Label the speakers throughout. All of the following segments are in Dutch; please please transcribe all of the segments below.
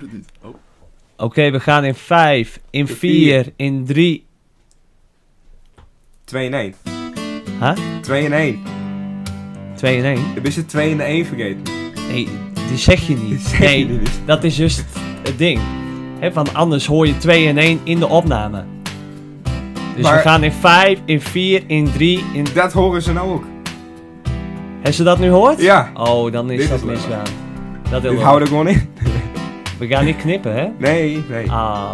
Speaker 1: het niet. Oh.
Speaker 2: Oké, we gaan in 5, in 4, in 3.
Speaker 1: 2 in 1.
Speaker 2: Huh?
Speaker 1: 2 in 1.
Speaker 2: 2 in 1.
Speaker 1: Ik ben je 2 in 1 vergeten.
Speaker 2: Nee, die zeg je
Speaker 1: Die
Speaker 2: niet.
Speaker 1: zeg
Speaker 2: Nee,
Speaker 1: je niet.
Speaker 2: dat is juist het ding. Hè, want anders hoor je 2 in 1 in de opname. Dus we
Speaker 1: Maar-
Speaker 2: gaan in 5, in 4, in 3, in...
Speaker 1: Dat horen ze nou ook.
Speaker 2: Hebben ze dat nu gehoord?
Speaker 1: Ja.
Speaker 2: Oh, dan is
Speaker 1: Dit
Speaker 2: dat
Speaker 1: is leuk.
Speaker 2: misgaan. Dat heel
Speaker 1: Ik
Speaker 2: leuk.
Speaker 1: hou er gewoon in.
Speaker 2: We gaan niet knippen, hè?
Speaker 1: Nee, nee.
Speaker 2: Ah,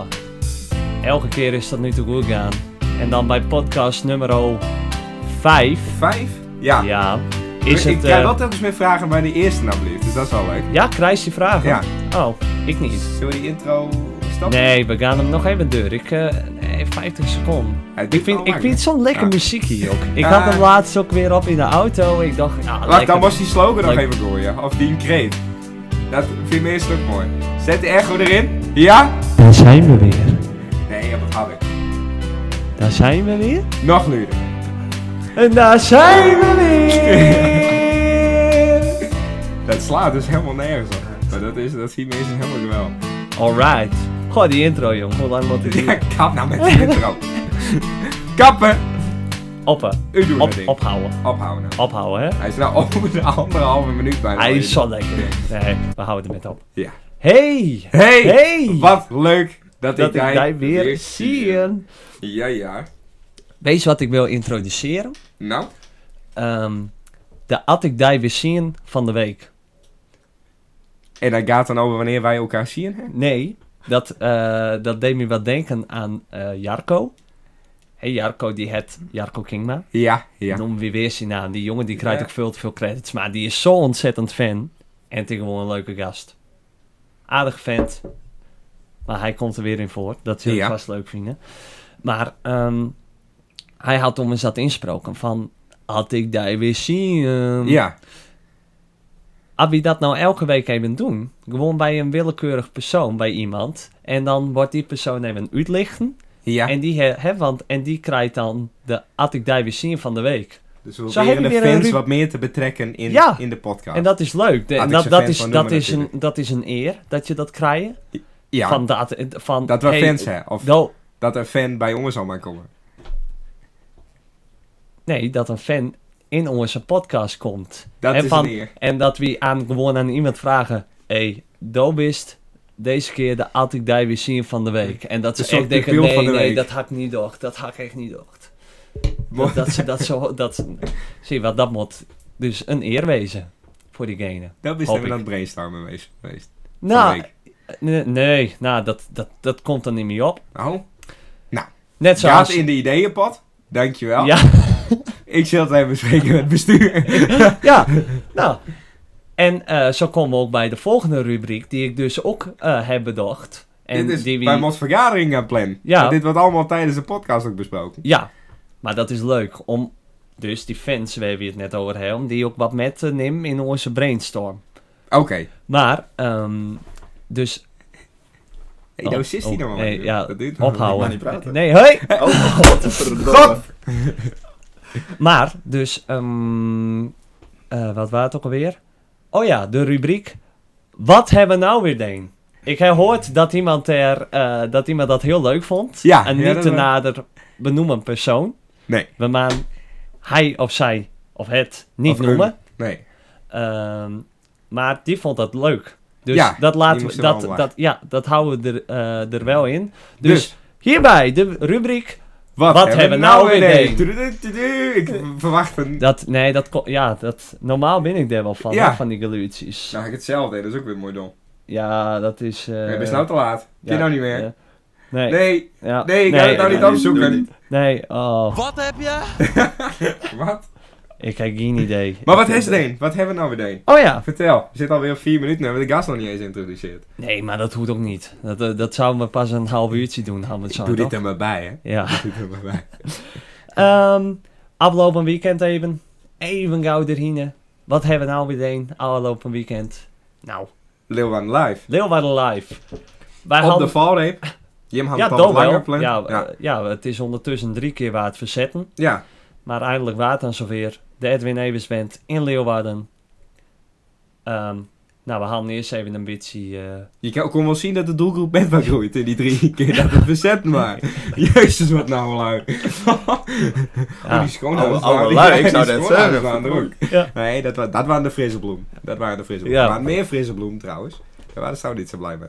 Speaker 2: elke keer is dat nu te goed gaan. En dan bij podcast nummer 5,
Speaker 1: 5? Ja.
Speaker 2: ja, is
Speaker 1: ik
Speaker 2: het...
Speaker 1: krijg
Speaker 2: eh,
Speaker 1: wel telkens meer vragen waar die eerste nou bleef, dus dat is wel leuk.
Speaker 2: Ja, krijg je vragen?
Speaker 1: Ja.
Speaker 2: Oh, ik niet.
Speaker 1: Zullen we die intro stappen?
Speaker 2: Nee, we gaan hem nog even door. Ik, eh, nee, 50 seconden.
Speaker 1: Ja, dit
Speaker 2: Ik
Speaker 1: is
Speaker 2: vind,
Speaker 1: wel
Speaker 2: ik
Speaker 1: lang,
Speaker 2: vind
Speaker 1: hè?
Speaker 2: zo'n lekker
Speaker 1: Ja.
Speaker 2: muziekje ook. Ik
Speaker 1: Ja.
Speaker 2: had hem laatst ook weer op in de auto. Ik dacht, ja,
Speaker 1: Wacht, dan
Speaker 2: lekker.
Speaker 1: was die slogan nog
Speaker 2: Leuk.
Speaker 1: even door, ja. Of die kreet. Dat vind ik meestal ook mooi. Zet de echo erin. Ja?
Speaker 2: Daar zijn we weer.
Speaker 1: Nee, ja, dat had ik.
Speaker 2: Daar zijn we weer.
Speaker 1: Nog luider.
Speaker 2: En daar zijn we weer.
Speaker 1: Dat slaat dus helemaal nergens op. Maar dat, is, dat zien mensen helemaal wel.
Speaker 2: Alright. Goh, die intro, jong. Hoe lang moet ik
Speaker 1: Ja,
Speaker 2: die?
Speaker 1: kap nou met die intro. Kappen!
Speaker 2: Oppen.
Speaker 1: U doet
Speaker 2: Op,
Speaker 1: het ding.
Speaker 2: ophouden.
Speaker 1: Ophouden nou.
Speaker 2: Ophouden, hè.
Speaker 1: Hij is nou over de anderhalve minuut bijna.
Speaker 2: Hij
Speaker 1: alweer.
Speaker 2: is zo lekker. Nee, we houden het met op.
Speaker 1: Ja.
Speaker 2: Hey!
Speaker 1: Hey,
Speaker 2: Hey!
Speaker 1: Wat leuk dat,
Speaker 2: Dat ik
Speaker 1: jij
Speaker 2: jij weer zie.
Speaker 1: Ja, ja.
Speaker 2: Weet je wat ik wil introduceren?
Speaker 1: Nou,
Speaker 2: Ehm, de At ik die weer zien van de week.
Speaker 1: en dat gaat dan over wanneer wij elkaar zien, hè?
Speaker 2: Nee, dat, eh, dat deed me wat denken aan eh, Jarko. Hey, Jarko, die het Jarko Kingma.
Speaker 1: Ja, ja.
Speaker 2: Noem weer weer zijn naam. Die jongen die krijgt
Speaker 1: Ja.
Speaker 2: ook veel te veel credits. Maar die is zo ontzettend fan. En tegenwoordig een leuke gast. Aardig vent. Maar hij komt er weer in voor. Dat zul je
Speaker 1: Ja.
Speaker 2: vast leuk vinden. Maar ehm, hij had om eens dat insproken van... Had ik daar weer zien.
Speaker 1: Ja,
Speaker 2: Als we dat nou elke week even doen, gewoon bij een willekeurig persoon, bij iemand, en dan wordt die persoon even uitlichten,
Speaker 1: ja.
Speaker 2: en, die he, hè, want, en die krijgt dan de At ik die weer zien van de week.
Speaker 1: dus we
Speaker 2: Zo
Speaker 1: proberen de
Speaker 2: heb je weer een
Speaker 1: fans
Speaker 2: ru-
Speaker 1: wat meer te betrekken in,
Speaker 2: Ja.
Speaker 1: in de podcast.
Speaker 2: En dat is leuk. De-
Speaker 1: Had
Speaker 2: en
Speaker 1: ik
Speaker 2: dat,
Speaker 1: ze
Speaker 2: dat,
Speaker 1: fan
Speaker 2: is,
Speaker 1: van
Speaker 2: dat,
Speaker 1: noemen
Speaker 2: is een,
Speaker 1: natuurlijk.
Speaker 2: dat is een eer dat je dat krijgt.
Speaker 1: ja,
Speaker 2: Van dat, van,
Speaker 1: dat we
Speaker 2: hey,
Speaker 1: fans zijn. Of
Speaker 2: nou,
Speaker 1: dat een fan bij ons allemaal komen.
Speaker 2: nee, dat een fan in onze podcast komt.
Speaker 1: Dat
Speaker 2: en,
Speaker 1: is
Speaker 2: van,
Speaker 1: een eer.
Speaker 2: en dat we aan, gewoon aan iemand vragen, hey, do bist deze keer de At ik die weer zien van de week. En dat ze
Speaker 1: Een soort
Speaker 2: echt denken,
Speaker 1: debiel
Speaker 2: nee,
Speaker 1: van de
Speaker 2: nee,
Speaker 1: week.
Speaker 2: dat hak ik niet door. Dat hak ik echt niet door.
Speaker 1: Mooi.
Speaker 2: Dat, dat, ze- dat, zo, dat, zie je wat, dat moet dus een eer wezen voor diegene.
Speaker 1: Dat is
Speaker 2: hoop
Speaker 1: even
Speaker 2: ik.
Speaker 1: aan het brainstormen geweest. geweest van de
Speaker 2: Nou,
Speaker 1: week.
Speaker 2: nee, nee, nou, dat, dat, dat komt er niet meer op.
Speaker 1: Nou, gaat
Speaker 2: Net zoals...
Speaker 1: in de ideeënpad. Dankjewel.
Speaker 2: Ja,
Speaker 1: Ik zal het even bespreken met het bestuur.
Speaker 2: ja, nou. En eh, zo komen we ook bij de volgende rubriek, die ik dus ook eh, heb bedacht. En
Speaker 1: dit is
Speaker 2: die we-
Speaker 1: bij Mos vergadering aan plan.
Speaker 2: Ja.
Speaker 1: Want Dit wordt allemaal tijdens de podcast ook besproken.
Speaker 2: Ja, maar dat is leuk om dus die fans waar we het net over hebben, om die ook wat met te nemen in onze brainstorm.
Speaker 1: Oké.
Speaker 2: Maar, ehm, dus
Speaker 1: Hey,
Speaker 2: Oh,
Speaker 1: nou zit hij
Speaker 2: oh,
Speaker 1: nou maar.
Speaker 2: nee,
Speaker 1: joh.
Speaker 2: ja,
Speaker 1: Dat duurt nog
Speaker 2: ophouden.
Speaker 3: niet praten.
Speaker 2: Nee, hoi!
Speaker 3: Oh,
Speaker 1: God!
Speaker 3: godverdomme.
Speaker 2: Maar, dus, ehm, eh, wat was het ook alweer? Oh ja, de rubriek. Wat hebben we nou weer deen? Ik heb gehoord dat iemand, er, eh, dat iemand dat heel leuk vond.
Speaker 1: Ja,
Speaker 2: Een
Speaker 1: ja,
Speaker 2: niet
Speaker 1: dat
Speaker 2: te
Speaker 1: wel.
Speaker 2: nader benoemen persoon.
Speaker 1: Nee.
Speaker 2: We maan hij of zij of het niet
Speaker 1: Of een.
Speaker 2: noemen.
Speaker 1: Nee.
Speaker 2: Ehm, maar die vond dat leuk. Dus
Speaker 1: Ja,
Speaker 2: dat
Speaker 1: die
Speaker 2: laten
Speaker 1: moest
Speaker 2: we,
Speaker 1: er wel
Speaker 2: dat,
Speaker 1: om
Speaker 2: dat, ja, dat houden we er, eh, er wel in. Dus,
Speaker 1: Dus,
Speaker 2: hierbij de rubriek.
Speaker 1: wat,
Speaker 2: wat
Speaker 1: hebben
Speaker 2: hebben
Speaker 1: we
Speaker 2: we nou
Speaker 1: nou
Speaker 2: weer
Speaker 1: weer?
Speaker 2: deed?
Speaker 1: Tududududu. Ik verwacht een...
Speaker 2: Dat, nee, dat, ko- ja, dat, normaal ben ik daar wel van,
Speaker 1: Ja.
Speaker 2: hè, van die geluidjes.
Speaker 1: Nou, ik hetzelfde. hè. Dat is ook weer mooi dom.
Speaker 2: Ja, dat is. eh
Speaker 1: Het is nou te laat. Kun je
Speaker 2: ja,
Speaker 1: nou niet meer?
Speaker 2: ja. Nee.
Speaker 1: Nee.
Speaker 2: ja,
Speaker 1: Nee, ik ga het nou
Speaker 2: eh,
Speaker 1: niet opzoeken.
Speaker 2: Nee, oh.
Speaker 1: Wat?
Speaker 2: Ik heb geen idee.
Speaker 1: Maar wat is het een? Wat hebben we nou weer een?
Speaker 2: Oh ja.
Speaker 1: Vertel. We zitten alweer op vier minuten en we hebben de gast nog niet eens geïntroduceerd.
Speaker 2: Nee, maar dat hoeft ook niet. Dat, eh, dat zouden we pas een half uurtje doen, hadden we het zo.
Speaker 1: Ik doe dit
Speaker 2: toch?
Speaker 1: er maar bij, hè.
Speaker 2: Ja.
Speaker 1: Ik doe dit er maar bij.
Speaker 2: Ehm aflopen weekend even. Even gauw erheen. Wat hebben we nou weer deen? Afgelopen weekend. Nou,
Speaker 1: Lil Wayne Live.
Speaker 2: Leeuwarden live. Wij
Speaker 1: Op de valreep. Jim had
Speaker 2: ja,
Speaker 1: het al
Speaker 2: dan
Speaker 1: wat langer
Speaker 2: wel.
Speaker 1: plan.
Speaker 2: Ja,
Speaker 1: ja.
Speaker 2: eh, ja, het is ondertussen drie keer waard verzetten.
Speaker 1: Ja.
Speaker 2: Maar eindelijk waard dan zover. De Edwin Evers Band in Leeuwarden. Ehm, Nou, we halen eerst even een beetje... eh,
Speaker 1: Je kan- kon wel zien dat de doelgroep met wat groeit in die drie keer dat het verzet maar. Jezus, wat nou wel uit.
Speaker 2: ja.
Speaker 1: Oh, die schoonhouders
Speaker 3: Alle- alle
Speaker 1: waren-
Speaker 3: lui,
Speaker 1: die-
Speaker 3: ik zou
Speaker 1: die
Speaker 3: net
Speaker 1: schoonhouders
Speaker 3: zeggen,
Speaker 1: waren er ook.
Speaker 2: Ja.
Speaker 1: Nee, dat, wa- dat waren de frisse bloem. Dat waren de frisse bloem.
Speaker 2: Ja.
Speaker 1: Er waren meer frisse bloem trouwens. Daar waren ze nou niet zo blij mee.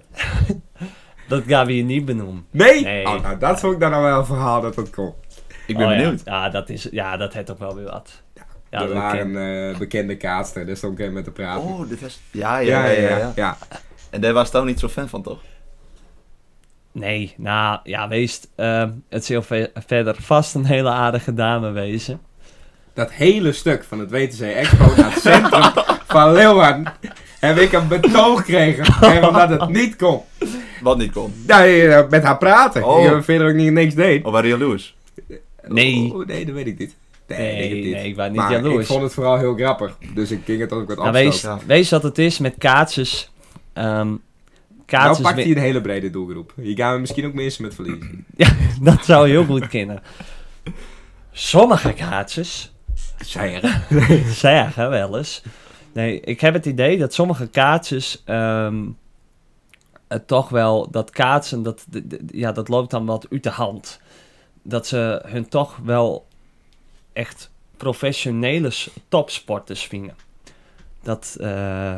Speaker 2: Dat gaan we hier niet benoemen.
Speaker 1: Nee!
Speaker 2: Nee.
Speaker 1: Oh, nou, dat vond ik dan nou wel een verhaal dat dat kon.
Speaker 3: Ik ben
Speaker 2: Oh, ja.
Speaker 3: benieuwd.
Speaker 2: Ja, dat is... Ja, dat heeft ook wel weer wat. Ja,
Speaker 1: er
Speaker 2: dat
Speaker 1: waren
Speaker 2: ken-
Speaker 1: eh, bekende kaatster, daar stond ik even met te praten.
Speaker 3: Oh, dit was... Ja,
Speaker 1: ja, ja, ja, ja.
Speaker 3: En daar was Toon niet zo fan van, toch?
Speaker 2: Nee, nou, ja, wees... ehm, het zal ve- verder vast een hele aardige dame wezen.
Speaker 1: Dat hele stuk van het WTC Expo naar het centrum van Leeuwarden heb ik een betoog gekregen. En omdat het niet kon.
Speaker 3: Wat niet kon.
Speaker 1: Nee, eh, met haar praten.
Speaker 3: Oh.
Speaker 1: Ik eh, verder ook niet, niks deed.
Speaker 3: Of waren jullie Oh, jaloers?
Speaker 2: Oh, Nee. nou,
Speaker 1: Oh, nee, dat weet ik niet. Nee,
Speaker 2: Nee,
Speaker 1: ik heb niet.
Speaker 2: nee, ik was niet
Speaker 1: maar
Speaker 2: jaloers.
Speaker 1: ik vond het vooral heel grappig. Dus ik ging het ook wat
Speaker 2: Nou,
Speaker 1: afstoten.
Speaker 2: wees,
Speaker 3: ja.
Speaker 2: wees wat het is met kaatsers. Ehm
Speaker 1: Nou
Speaker 2: kaatsers
Speaker 1: pakt
Speaker 2: wi-
Speaker 1: hij een hele brede doelgroep. Hier gaan we misschien ook mensen met verliezen.
Speaker 2: Dat zou heel goed kunnen. Sommige kaatsers
Speaker 1: Zij
Speaker 2: zeggen wel eens. Nee, ik heb het idee dat sommige kaatsers ehm, het toch wel dat kaatsen dat d- d- ja dat loopt dan wat uit de hand. Dat ze hun toch wel echt professionele s- topsporters vinden. Dat eh,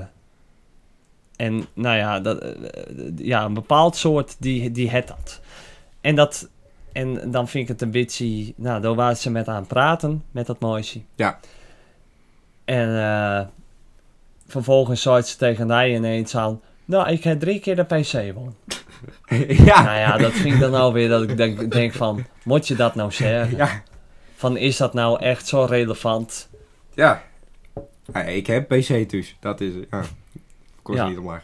Speaker 2: en nou ja, dat, eh, eh, ja, een bepaald soort die, die het dat. En dat en dan vind ik het een beetje, nou, daar waren ze met aan praten met dat mooisje. En eh, vervolgens zei ze tegen mij ineens aan... Nou, ik heb drie keer de PC won.
Speaker 1: ja.
Speaker 2: Nou ja, dat vind ik dan alweer dat ik denk, denk van... Moet je dat nou zeggen?
Speaker 1: Ja.
Speaker 2: Van, is dat nou echt zo relevant?
Speaker 1: ja. Ja, ik heb PC dus. Dat is het. Ja. Kost
Speaker 2: Ja.
Speaker 1: niet omlaag.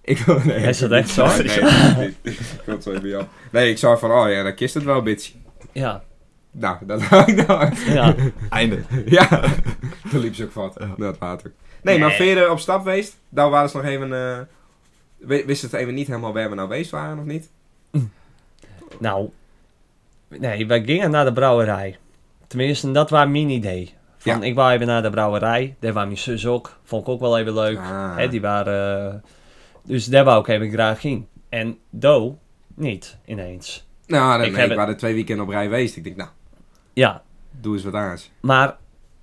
Speaker 1: Ik wil... Nee,
Speaker 2: Is dat echt zo?
Speaker 1: Nee, nee, nee. Ik wil het zo even jou. Nee, ik zou van... Oh ja, dan kist het wel, bitch.
Speaker 2: Ja,
Speaker 1: Nou, dat hou ik nou uit.
Speaker 2: ja.
Speaker 3: Einde.
Speaker 2: Nou,
Speaker 1: Ja, toen liep ze ook vat. Dat water. Nee, maar
Speaker 2: Nee.
Speaker 1: verder op stap geweest. Daar waren ze nog even... eh, wi- wisten het even niet helemaal waar we nou geweest waren, of niet?
Speaker 2: Nou, nee, wij gingen naar de brouwerij. Tenminste, dat was mijn idee. Van,
Speaker 1: Ja.
Speaker 2: ik wou even naar de brouwerij. Daar was mijn zus ook. Vond ik ook wel even leuk.
Speaker 1: Ah.
Speaker 2: Hè, die waren... eh, dus daar wou ik even graag in. En Do, niet, ineens.
Speaker 1: Nou, nee,
Speaker 2: Ik
Speaker 1: ik,
Speaker 2: heb
Speaker 1: ik
Speaker 2: het-
Speaker 1: waren er twee weekenden op rij geweest. Ik denk, nou,
Speaker 2: Ja,
Speaker 1: doe eens wat aans.
Speaker 2: maar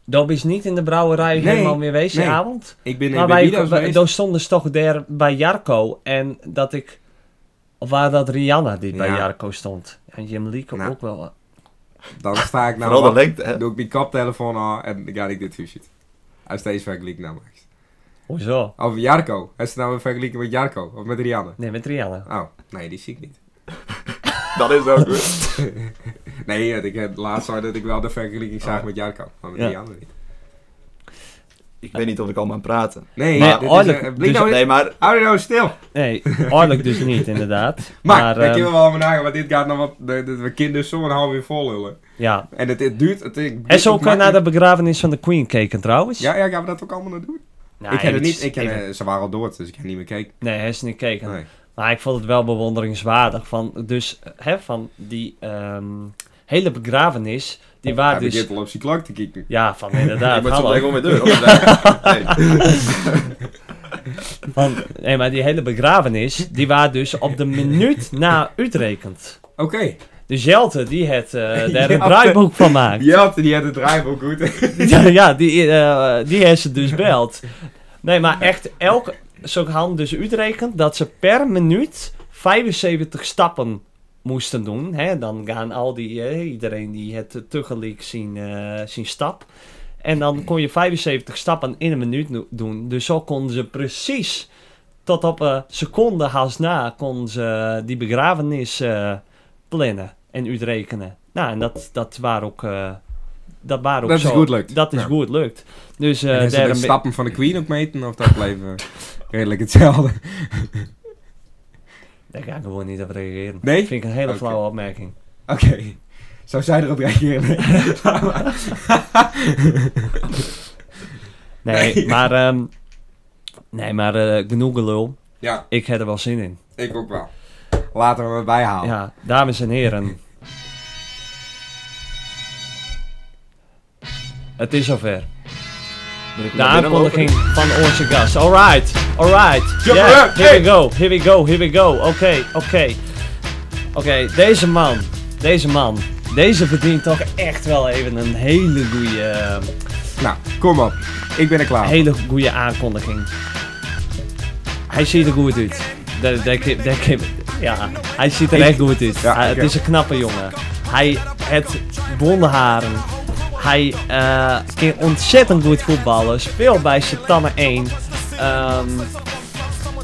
Speaker 2: dat is niet in de brouwerij
Speaker 1: Nee,
Speaker 2: helemaal meer wezen
Speaker 1: nee.
Speaker 2: avond.
Speaker 1: Ik ben
Speaker 2: Nou, maar
Speaker 1: in
Speaker 2: wij,
Speaker 1: Bibido's
Speaker 2: wij-
Speaker 1: geweest.
Speaker 2: daar stonden ze toch daar bij Jarko en dat ik... Of waren dat Rihanna die bij
Speaker 1: Ja.
Speaker 2: Jarko stond? En Jim Lee kon
Speaker 1: Nou.
Speaker 2: ook wel...
Speaker 1: Dan sta ik nou...
Speaker 3: Vooral de
Speaker 1: op,
Speaker 3: lengte, hè?
Speaker 1: doe ik mijn kaptelefoon aan en dan ga ik dit huisje. Hij is steeds vergeleken nou Max.
Speaker 2: Hoezo?
Speaker 1: Of Jarko. Hij is nou weer vergeleken met Jarko. Of met Rianne.
Speaker 2: Nee, met Rihanna.
Speaker 1: Oh, nee, die zie ik niet.
Speaker 3: Dat is ook goed.
Speaker 1: Nee, eh, ik heb laatst al dat ik wel de vergelijking zag met Jarko. Maar met
Speaker 2: Oh. Ja.
Speaker 1: Rianne niet.
Speaker 3: Ik weet niet of ik allemaal aan praten.
Speaker 1: Nee,
Speaker 2: Maar
Speaker 1: dit is...
Speaker 2: oorlijk,
Speaker 1: eh,
Speaker 2: dus-
Speaker 1: Blink nou
Speaker 3: Nee, maar...
Speaker 1: Hou je nou stil.
Speaker 2: Nee, oorlijk dus niet inderdaad.
Speaker 1: Maar, daar
Speaker 2: ehm,
Speaker 1: kunnen we wel over nagaan, want dit gaat nog wat... de- de- We kinderen zo'n half uur vol lullen.
Speaker 2: ja.
Speaker 1: En het, het duurt... Het, ik-
Speaker 2: En zo ook eh,
Speaker 1: makkelijk-
Speaker 2: naar de begrafenis van de Queen keken trouwens.
Speaker 1: Ja, ja, gaan we dat ook allemaal nog doen?
Speaker 2: Nou,
Speaker 1: ik ken het
Speaker 2: iets-
Speaker 1: niet. Ik ken, eh, ze waren al door, dus ik heb niet meer gekeken.
Speaker 2: Nee, hij is niet keken.
Speaker 1: Nee.
Speaker 2: Maar ik vond het wel bewonderingswaardig. Van, dus hè, van die ehm, hele begrafenis,
Speaker 3: Oh,
Speaker 2: die
Speaker 1: Hij
Speaker 2: waar dus...
Speaker 1: begint al op zijn klok te kijken.
Speaker 2: Ja, van inderdaad.
Speaker 3: ik moet zo
Speaker 2: hallo.
Speaker 3: direct wel met deur. hoor. Nee.
Speaker 2: Van, nee, maar die hele begrafenis, die waar dus op de minuut na uitrekend.
Speaker 1: Oké.
Speaker 2: Dus Jelte, die het, eh, daar
Speaker 1: Jelte.
Speaker 2: een draaiboek van maakt.
Speaker 1: Jelte, die had het draaiboek
Speaker 2: Eh,
Speaker 1: goed.
Speaker 2: ja, ja, die, eh, die heeft ze dus belt. Nee, maar echt, elke... Zo hadden dus uitrekend dat ze per minuut 75 stappen moesten doen. Hè? Dan gaan al die... eh, iedereen die het eh, tegelijk zien, eh, zien stap. En dan kon je 75 stappen in een minuut no- doen. Dus zo konden ze precies tot op een seconde haast na... konden ze die begrafenis eh, plannen en uitrekenen. Nou, en dat, dat waren ook... eh, dat waren ook
Speaker 1: Dat is
Speaker 2: zo.
Speaker 1: goed lukt.
Speaker 2: Dat is
Speaker 1: Ja.
Speaker 2: goed lukt. Dus eh
Speaker 1: en ze de
Speaker 2: daarom...
Speaker 1: stappen van de Queen ook meten, of dat bleef eh, redelijk hetzelfde.
Speaker 2: Daar ga ik gewoon niet op reageren.
Speaker 1: Nee?
Speaker 2: Dat vind ik een hele
Speaker 1: Oké.
Speaker 2: flauwe opmerking.
Speaker 1: Oké. Zou zij erop reageren? Nee.
Speaker 2: Nee, maar... ehm, nee, maar eh, genoeg gelul.
Speaker 1: ja,
Speaker 2: Ik heb er wel zin in.
Speaker 1: ik ook wel. Laten we het bijhalen.
Speaker 2: Ja, dames en heren. Het is zover.
Speaker 3: Ben ik
Speaker 2: De
Speaker 3: maar binnenlopen?
Speaker 2: aankondiging van onze gast. Alright, alright.
Speaker 1: Jump
Speaker 2: Yeah,
Speaker 1: around,
Speaker 2: here we
Speaker 1: hey.
Speaker 2: go, here we go, here we go. Oké, oké. Oké, deze man. Deze man. Deze verdient toch echt wel even een hele ehm, goede,
Speaker 1: Nou, kom op. Ik ben er klaar. voor.
Speaker 2: hele goede aankondiging. Hij ziet er goed uit. Dat- dat kan- dat kan- Ja, hij ziet er
Speaker 1: Ik-
Speaker 2: echt goed uit.
Speaker 1: Ja,
Speaker 2: Hij-
Speaker 1: oké.
Speaker 2: Het is een knappe jongen. Hij heeft blonde haren. Hij eh kan ontzettend goed voetballen. Speelt bij Satamme 1. Ehm,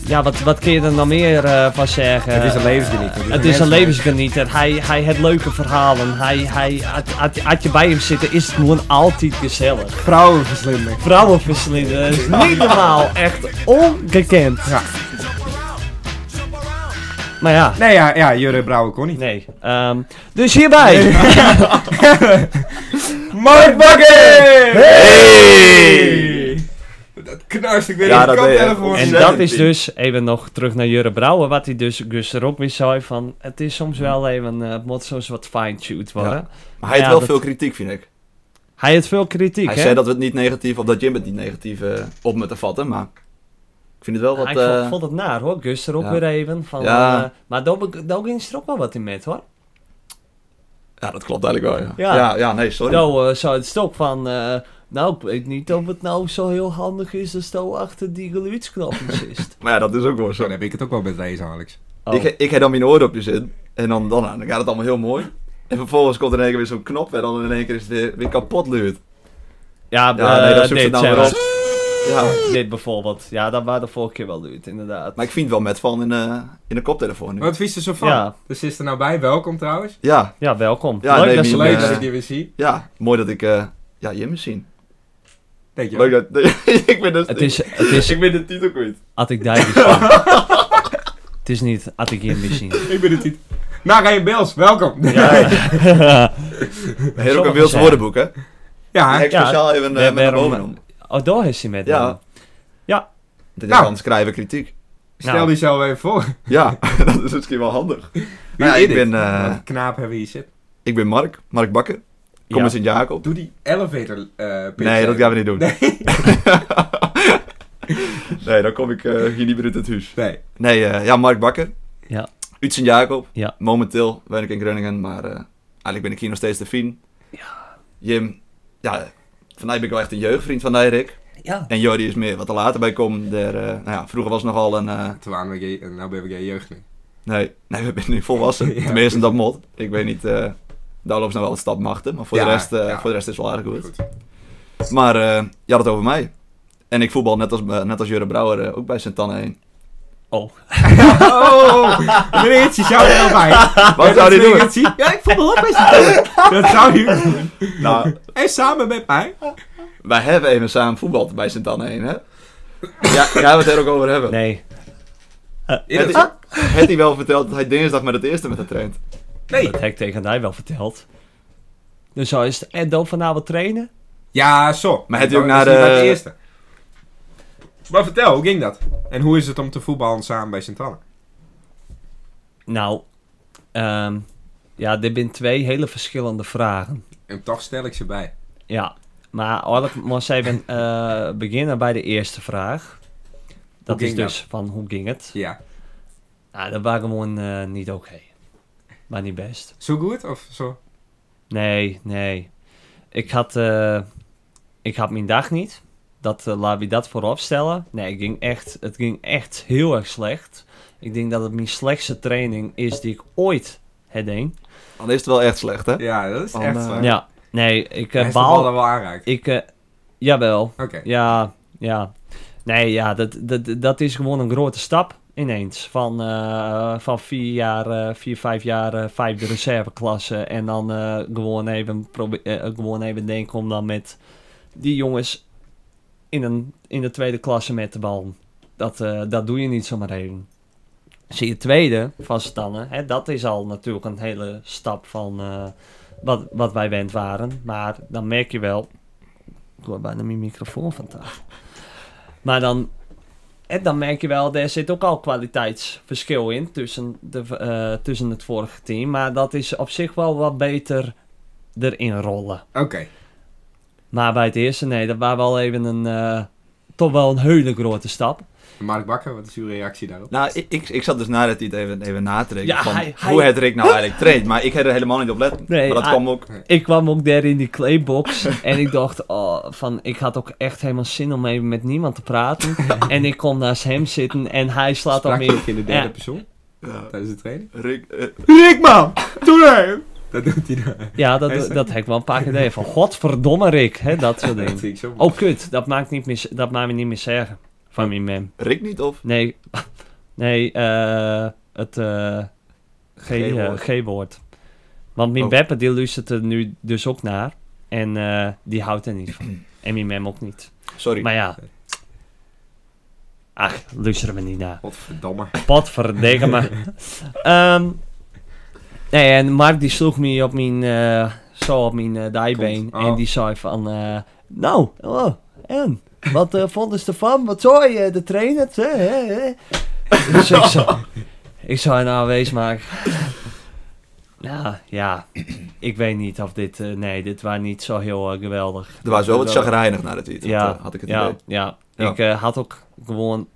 Speaker 2: ja, wat, wat kun je er nog meer eh, van zeggen?
Speaker 1: Het is een levensgenieter.
Speaker 2: Het is een levensgenieter. Hij, hij heeft leuke verhalen. Hij, hij, had- had- had je bij hem zitten, is het gewoon altijd gezellig
Speaker 1: Vrouwenverslinder.
Speaker 2: vrouwenverslinden. Dat is niet normaal. Echt ongekend.
Speaker 1: Ja.
Speaker 2: Maar ja,
Speaker 1: Nee, ja, ja Jurre Brouwer kon niet.
Speaker 2: nee. Ehm, dus hierbij.
Speaker 1: Mark Bakker!
Speaker 3: Hey!
Speaker 1: Dat knarst ik weer
Speaker 3: Ja,
Speaker 1: in de
Speaker 3: dat ben je.
Speaker 1: koptelefoon.
Speaker 2: En dat is dus, even nog terug naar Jurre Brouwer, wat hij dus Gus er ook weer zei van, het is soms wel even, eh, het moet soms wat fine-tuned worden.
Speaker 3: Maar hij heeft
Speaker 2: Ja,
Speaker 3: wel
Speaker 2: dat-
Speaker 3: veel kritiek, vind ik.
Speaker 2: Hij heeft veel kritiek,
Speaker 3: Hij
Speaker 2: hè?
Speaker 3: zei dat we het niet negatief, of dat Jim het niet negatief eh, op me te vatten, maar ik vind het wel wat...
Speaker 2: ik
Speaker 3: eh,
Speaker 2: vond, vond het naar, hoor. Gus er ook
Speaker 3: ja.
Speaker 2: weer even van,
Speaker 3: Ja.
Speaker 2: eh, maar daar daar ging ze er ook wel wat in met, hoor.
Speaker 3: Ja, dat klopt eigenlijk wel, ja.
Speaker 2: Ja.
Speaker 3: Ja, ja, nee, sorry.
Speaker 2: Nou, eh, zo het is ook van, eh, nou, ik weet niet of het nou zo heel handig is als daar achter die geluidsknopjes is.
Speaker 3: Maar ja, dat is ook wel zo.
Speaker 1: Dan heb ik het ook wel met deze, Alex.
Speaker 2: Oh.
Speaker 3: Ik, ik heb dan mijn oordopjes in. En dan, dan, dan gaat het allemaal heel mooi. En vervolgens komt er in één keer weer zo'n knop. En dan in één keer is het weer, weer kapot luid.
Speaker 2: Ja,
Speaker 3: Ja,
Speaker 2: eh,
Speaker 3: nee, dat zoekt het
Speaker 2: dit,
Speaker 3: nou
Speaker 2: zeg
Speaker 3: weer
Speaker 2: maar.
Speaker 3: op. Ja.
Speaker 2: Dit bijvoorbeeld. Ja, dat waren de vorige keer wel duurt, inderdaad.
Speaker 3: Maar ik vind het wel met van in, eh, in de koptelefoon nu.
Speaker 1: Wat vies er zo van?
Speaker 2: Ja.
Speaker 1: Dus is er nou bij. Welkom trouwens.
Speaker 3: Ja,
Speaker 2: Ja, welkom.
Speaker 3: Ja,
Speaker 2: Leuk
Speaker 3: nee,
Speaker 2: dat
Speaker 3: niet
Speaker 2: ze
Speaker 1: Leuk
Speaker 3: meer.
Speaker 2: leuk
Speaker 1: dat
Speaker 3: eh,
Speaker 1: ik je weer zie.
Speaker 3: ja. Mooi dat ik... eh, ja, Jim is zien.
Speaker 1: Dank je.
Speaker 3: Leuk dat... ik ben dus,
Speaker 2: Het is, het is,
Speaker 3: Ik ben de titel kwijt.
Speaker 2: had ik daar gezien. Het is niet, had ik hier misschien.
Speaker 1: Ik ben het niet. Nou, Ryan Bils, welkom. Ja,
Speaker 2: Ja,
Speaker 3: Heel ook
Speaker 2: Sommige
Speaker 3: een Wils
Speaker 2: zijn.
Speaker 3: woordenboek, hè?
Speaker 1: ja.
Speaker 3: ik speciaal even
Speaker 2: we
Speaker 3: eh, met naar
Speaker 2: hebben
Speaker 3: boven
Speaker 2: hem-
Speaker 3: om.
Speaker 2: oh, daar is hij met
Speaker 3: Ja.
Speaker 2: hem. Ja.
Speaker 3: Dit is
Speaker 1: Nou.
Speaker 3: dan schrijven kritiek.
Speaker 1: stel
Speaker 2: Nou.
Speaker 1: die zo even voor.
Speaker 3: Ja, dat is misschien wel handig.
Speaker 1: Wie
Speaker 3: Nou,
Speaker 1: is
Speaker 3: ik,
Speaker 1: dit?
Speaker 3: ben, eh,
Speaker 1: Wat knaap hebben we hier zitten.
Speaker 3: ik ben Mark, Mark Bakker. Kom
Speaker 2: Ja.
Speaker 3: uit Sint-Jacob.
Speaker 1: Doe die elevator eh, pitch
Speaker 3: Nee, dat
Speaker 1: even.
Speaker 3: gaan we niet doen.
Speaker 1: Nee.
Speaker 3: nee, dan kom ik eh, hier niet meer uit het huis.
Speaker 1: Nee.
Speaker 3: Nee, eh, ja, Mark Bakker.
Speaker 2: Ja.
Speaker 3: Uit Sint-Jacob.
Speaker 2: Ja.
Speaker 3: Momenteel ben ik in Groningen, maar eh, eigenlijk ben ik hier nog steeds te fien. Jim, ja, van mij ben ik wel echt een jeugdvriend van die Rick.
Speaker 2: Ja.
Speaker 3: En Jordi is meer wat er later bij komt. Der, eh, nou ja, vroeger was het nogal een... eh,
Speaker 1: Toen waren we gay en nou ben ik gay jeugdling.
Speaker 3: nee, nee, we zijn nu volwassen.
Speaker 1: Ja.
Speaker 3: Tenminste, dat mot. Ik weet niet, eh, daar lopen ze nog wel een stap machten. Maar voor,
Speaker 1: Ja,
Speaker 3: de, rest, eh,
Speaker 1: ja.
Speaker 3: voor de rest is het wel aardig goed. Maar eh je had het over mij. En ik voetbal net als, eh, net als Jurre Brouwer eh, ook bij Sint-Anne heen.
Speaker 2: Oh.
Speaker 1: Oh, meneertje, zou je nou erbij.
Speaker 2: Ah,
Speaker 3: Wat zou die doen?
Speaker 1: Ja, ik voel me op Dat zou je doen.
Speaker 3: Nou,
Speaker 1: En samen met mij.
Speaker 3: wij hebben even samen voetbal bij Sint-Anne heen, hè? Ja, gaan we het er ook over hebben.
Speaker 2: Nee.
Speaker 3: Heeft hij-
Speaker 1: Ah,
Speaker 3: heeft hij wel verteld dat hij dinsdag met het eerste met haar traint?
Speaker 1: Nee.
Speaker 2: Dat heb ik tegen hij wel verteld. Dus zo is het. En dan vanavond trainen?
Speaker 1: Ja, zo.
Speaker 3: Maar het is ook
Speaker 1: Dat
Speaker 3: naar
Speaker 1: niet
Speaker 3: de-
Speaker 1: bij het eerste. Maar vertel, hoe ging dat? En hoe is het om te voetballen samen bij sint Anne?
Speaker 2: Nou, ehm, ja, dit zijn twee hele verschillende vragen.
Speaker 1: En toch stel ik ze bij.
Speaker 2: Ja, maar eigenlijk moest even eh, beginnen bij de eerste vraag. Dat
Speaker 1: Hoe
Speaker 2: is
Speaker 1: ging
Speaker 2: dus van hoe ging het?
Speaker 1: Ja.
Speaker 2: Nou, dat was gewoon eh, niet oké. Maar niet best.
Speaker 1: Zo goed of zo?
Speaker 2: Nee, nee. Ik had, eh, ik had mijn dag niet. Dat, eh, laat ik dat voorop stellen. Nee, het ging, echt, het ging echt heel erg slecht. Ik denk dat het mijn slechtste training is die ik ooit heb gedaan.
Speaker 3: Dan is het wel echt slecht, hè?
Speaker 1: Oh Ja, dat is
Speaker 3: Van,
Speaker 1: echt
Speaker 3: eh,
Speaker 1: waar.
Speaker 2: Ja, nee, ik
Speaker 1: Hij
Speaker 2: eh
Speaker 1: is de bal
Speaker 2: baal...
Speaker 1: dan wel aanraakt.
Speaker 2: Ik, eh, jawel.
Speaker 1: Oké.
Speaker 2: Ja, ja. Nee, ja, dat, dat, dat is gewoon een grote stap ineens. Van, eh, van vier jaar, eh, vier, vijf jaar, eh, vijfde reserveklasse. En dan eh, gewoon, even probe- eh, gewoon even denken om dan met die jongens in, een, in de tweede klasse met de bal. Dat, eh, dat doe je niet zomaar even. Zie je tweede van Stannen, hè, dat is al natuurlijk een hele stap van eh, wat, wat wij wend waren. Maar dan merk je wel, ik hoor bijna mijn microfoon vandaag. Maar dan, en dan merk je wel, er zit ook al kwaliteitsverschil in tussen, de, eh, tussen het vorige team. Maar dat is op zich wel wat beter erin rollen.
Speaker 1: Oké.
Speaker 2: Maar bij het eerste, nee, dat was wel even een, eh, toch wel een hele grote stap.
Speaker 1: Mark Bakker, wat is uw reactie daarop?
Speaker 3: Nou, ik, ik, ik zat dus nadat hij het even, even na te rekenen
Speaker 2: Ja,
Speaker 3: van
Speaker 2: hij- hij-
Speaker 3: hoe het Rick nou eigenlijk traint. Maar ik had er helemaal niet op letten.
Speaker 2: Nee,
Speaker 3: maar dat
Speaker 2: hij-
Speaker 3: kwam ook...
Speaker 2: Ik kwam ook daar in die claybox en ik dacht, oh, van, ik had ook echt helemaal zin om even met niemand te praten. En ik kom naast hem zitten en hij slaat dan
Speaker 1: Sprak je
Speaker 2: meer.
Speaker 1: ook in de derde
Speaker 2: Ja.
Speaker 1: persoon
Speaker 3: Ja,
Speaker 1: tijdens de training?
Speaker 3: Rick... eh,
Speaker 1: Rick, man! Doe hem! Dat doet hij dan.
Speaker 2: Ja, dat,
Speaker 1: Hij
Speaker 2: dat,
Speaker 1: is-
Speaker 2: heb ik wel een paar keer gedaan. Van godverdomme Rick, hè, dat soort
Speaker 1: Dat
Speaker 2: dingen.
Speaker 1: zie ik zo.
Speaker 2: Oh kut, dat maakt, niet meer, dat maakt me niet meer zeggen van mijn mem.
Speaker 3: Rick niet of...
Speaker 2: Nee, nee, eh, het eh, G- eh,
Speaker 3: G-woord.
Speaker 2: G-woord. Want mijn
Speaker 3: Oh.
Speaker 2: Beppe die luistert er nu dus ook naar. En eh, die houdt er niet van. En mijn mem ook niet.
Speaker 3: Sorry.
Speaker 2: Maar ja. Ach, luisteren we niet naar.
Speaker 1: Godverdamme.
Speaker 2: Potverdikke me. Ehm, nee, en Mark die sloeg me op mijn, eh, zo op mijn eh, dijbeen.
Speaker 1: Kont. Oh.
Speaker 2: En die zei van, eh, nou, oh, en? Wat eh, vonden ze ervan? Wat zei je, de trainer? Hè, hè, hè? Dus ik zei, ik zei nou, wees maar. Nou, ja, ik weet niet of dit, eh, nee, dit was niet zo heel eh, geweldig.
Speaker 3: Er was wel wat
Speaker 2: Dat-
Speaker 3: chagrijnig nadat hij het had,
Speaker 2: Ja,
Speaker 3: eh, had ik het
Speaker 2: Ja,
Speaker 3: idee.
Speaker 2: ja.
Speaker 3: Ja.
Speaker 2: ik eh, had ook gewoon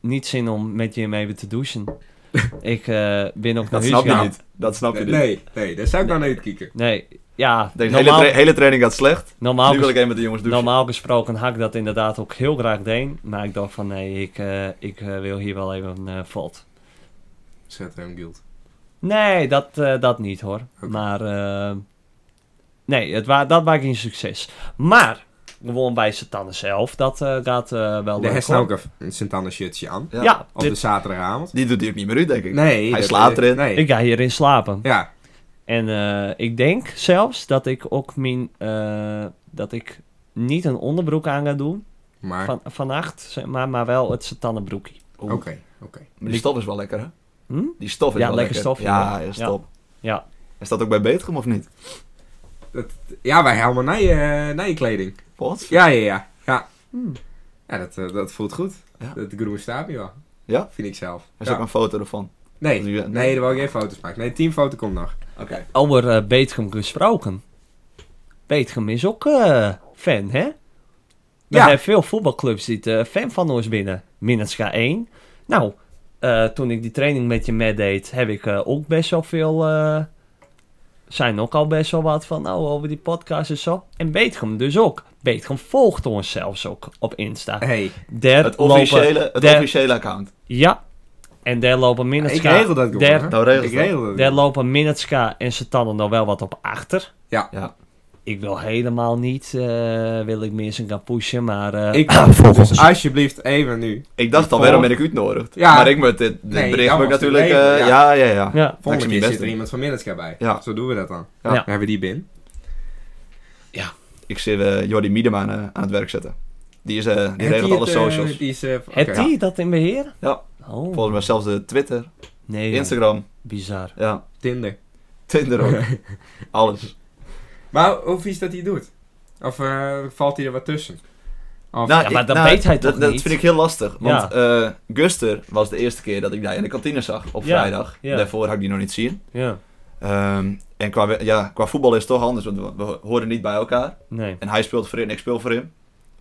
Speaker 2: niet zin om met je mee te douchen. ik eh, ben ook naar
Speaker 3: Dat
Speaker 2: huis
Speaker 3: snap je
Speaker 2: gegaan.
Speaker 3: niet. Dat snap je
Speaker 1: Nee,
Speaker 3: niet.
Speaker 1: nee, nee, daar zou ik dan uit kieken.
Speaker 2: Nee, ja,
Speaker 3: Deze
Speaker 2: normaal,
Speaker 3: hele, tra- hele training gaat slecht.
Speaker 2: normaal,
Speaker 3: nu wil ik
Speaker 2: ges-
Speaker 3: even met de jongens douchen.
Speaker 2: normaal gesproken had ik dat inderdaad ook heel graag deed. Maar ik dacht van nee, ik, eh, ik eh, wil hier wel even eh valt.
Speaker 1: Zet hem guild.
Speaker 2: Nee, dat, eh, dat niet hoor.
Speaker 1: Oké.
Speaker 2: Maar eh, nee, het wa dat maakt geen succes. Maar gewoon bij Satan zelf, dat eh, gaat eh, wel
Speaker 1: De
Speaker 2: leuk,
Speaker 1: heeft
Speaker 2: hoor.
Speaker 1: nou ook een- een Sint-Anne shirtje aan.
Speaker 3: eh, Ja.
Speaker 2: Ja,
Speaker 1: Op de
Speaker 2: dit-
Speaker 1: zaterdagavond.
Speaker 3: Die doet hij ook niet meer uit, denk ik.
Speaker 1: Nee.
Speaker 3: Hij
Speaker 1: dat-
Speaker 3: slaapt erin.
Speaker 1: Nee.
Speaker 2: ik ga hierin slapen.
Speaker 1: Ja,
Speaker 2: En eh, ik denk zelfs dat ik ook mijn, eh, dat ik niet een onderbroek aan ga doen
Speaker 1: maar...
Speaker 2: van, vannacht, zeg maar, maar wel het satannenbroekje.
Speaker 3: Oeh,
Speaker 1: Oké, oké.
Speaker 3: Maar die stof is wel lekker, hè?
Speaker 2: Hm?
Speaker 3: Die stof is
Speaker 2: Ja,
Speaker 3: wel
Speaker 2: lekker stof,
Speaker 3: Ja,
Speaker 2: ja.
Speaker 3: is top.
Speaker 2: Ja.
Speaker 3: Is dat ook bij Beetgem of niet?
Speaker 1: Ja, wij helemaal naar je, naar je kleding.
Speaker 3: Wat?
Speaker 1: Ja, ja, ja. Ja,
Speaker 2: Hmm.
Speaker 1: ja dat, eh, dat voelt goed.
Speaker 3: Ja.
Speaker 1: Dat groene staapje wel.
Speaker 3: Ja?
Speaker 1: Vind ik zelf.
Speaker 3: Er is
Speaker 1: Ja.
Speaker 3: ook een foto ervan.
Speaker 1: Nee,
Speaker 3: Dus je-
Speaker 1: nee, daar wil ik geen foto's maken. Nee, teamfoto komt nog.
Speaker 3: Oké.
Speaker 2: Over eh, Beetgem gesproken. Beetgem is ook eh, fan, hè? Er
Speaker 1: Ja.
Speaker 2: zijn veel voetbalclubs die eh, fan van ons binnen. Minenska 1. Nou, eh, toen ik die training met je meedeed, heb ik eh, ook best wel veel... eh, zijn ook al best wel wat van, nou, over die podcast en zo. En Beetgem dus ook. Beetgem volgt ons zelfs ook op Insta.
Speaker 1: Hey,
Speaker 2: Der
Speaker 3: Het officiële, het
Speaker 2: der-
Speaker 3: officiële account.
Speaker 2: Ja. En daar lopen
Speaker 1: Ah, ik
Speaker 2: Minenska...
Speaker 1: regel dat gewoon.
Speaker 2: der-
Speaker 1: hè?
Speaker 3: Nou, regel
Speaker 1: ik
Speaker 3: dat.
Speaker 1: regel dat.
Speaker 2: daar lopen Minetska en Satannen nog wel wat op achter.
Speaker 1: Ja.
Speaker 3: Ja.
Speaker 2: Ik wil helemaal niet, eh, wil ik meer zijn gaan pushen, maar... eh,
Speaker 1: Ik,
Speaker 2: volgens-
Speaker 1: dus alsjeblieft even nu.
Speaker 3: Ik dacht al,
Speaker 1: Volgende-
Speaker 3: waarom ben ik uitnodigd?
Speaker 1: Ja.
Speaker 3: Maar ik moet dit, dit
Speaker 1: Nee,
Speaker 3: bericht
Speaker 1: dat
Speaker 3: moet ik
Speaker 1: was de
Speaker 3: natuurlijk...
Speaker 1: regel,
Speaker 3: eh, ja,
Speaker 1: ja.
Speaker 3: ja, ja.
Speaker 2: ja.
Speaker 3: Dat is
Speaker 1: Volgende
Speaker 3: mijn
Speaker 1: keer
Speaker 3: beste.
Speaker 1: zit er iemand van Minneska bij.
Speaker 3: Ja.
Speaker 1: Zo doen we dat dan.
Speaker 3: Ja.
Speaker 1: Dan hebben we die bin.
Speaker 3: Ik zie eh Jordi Miedema aan, eh, aan het werk zetten. Die, is, eh, die regelt alle
Speaker 1: het, eh,
Speaker 3: socials.
Speaker 1: die is, eh, oké.
Speaker 2: Heb die dat in beheer?
Speaker 3: Ja.
Speaker 2: Oh,
Speaker 3: Volgens mij zelfs de Twitter,
Speaker 2: nee, joh.
Speaker 3: Instagram,
Speaker 2: bizar.
Speaker 3: ja,
Speaker 1: Tinder.
Speaker 3: Tinder ook. Alles.
Speaker 1: Maar hoe vies dat hij doet? Of eh, valt hij er wat tussen? Of,
Speaker 2: ja, maar dat weet hij
Speaker 3: Nou, dat,
Speaker 2: toch
Speaker 3: dat
Speaker 2: niet?
Speaker 3: vind ik heel lastig. Want
Speaker 2: Ja.
Speaker 3: eh, Guster was de eerste keer dat ik die in de kantine zag op
Speaker 2: Ja,
Speaker 3: vrijdag.
Speaker 2: ja.
Speaker 3: Daarvoor had ik die nog niet zien.
Speaker 2: Ja,
Speaker 3: Ehm, en qua, we- ja, qua voetbal is het toch anders, want we, we horen niet bij elkaar.
Speaker 2: nee.
Speaker 3: En hij speelt voor hem en ik speel voor hem.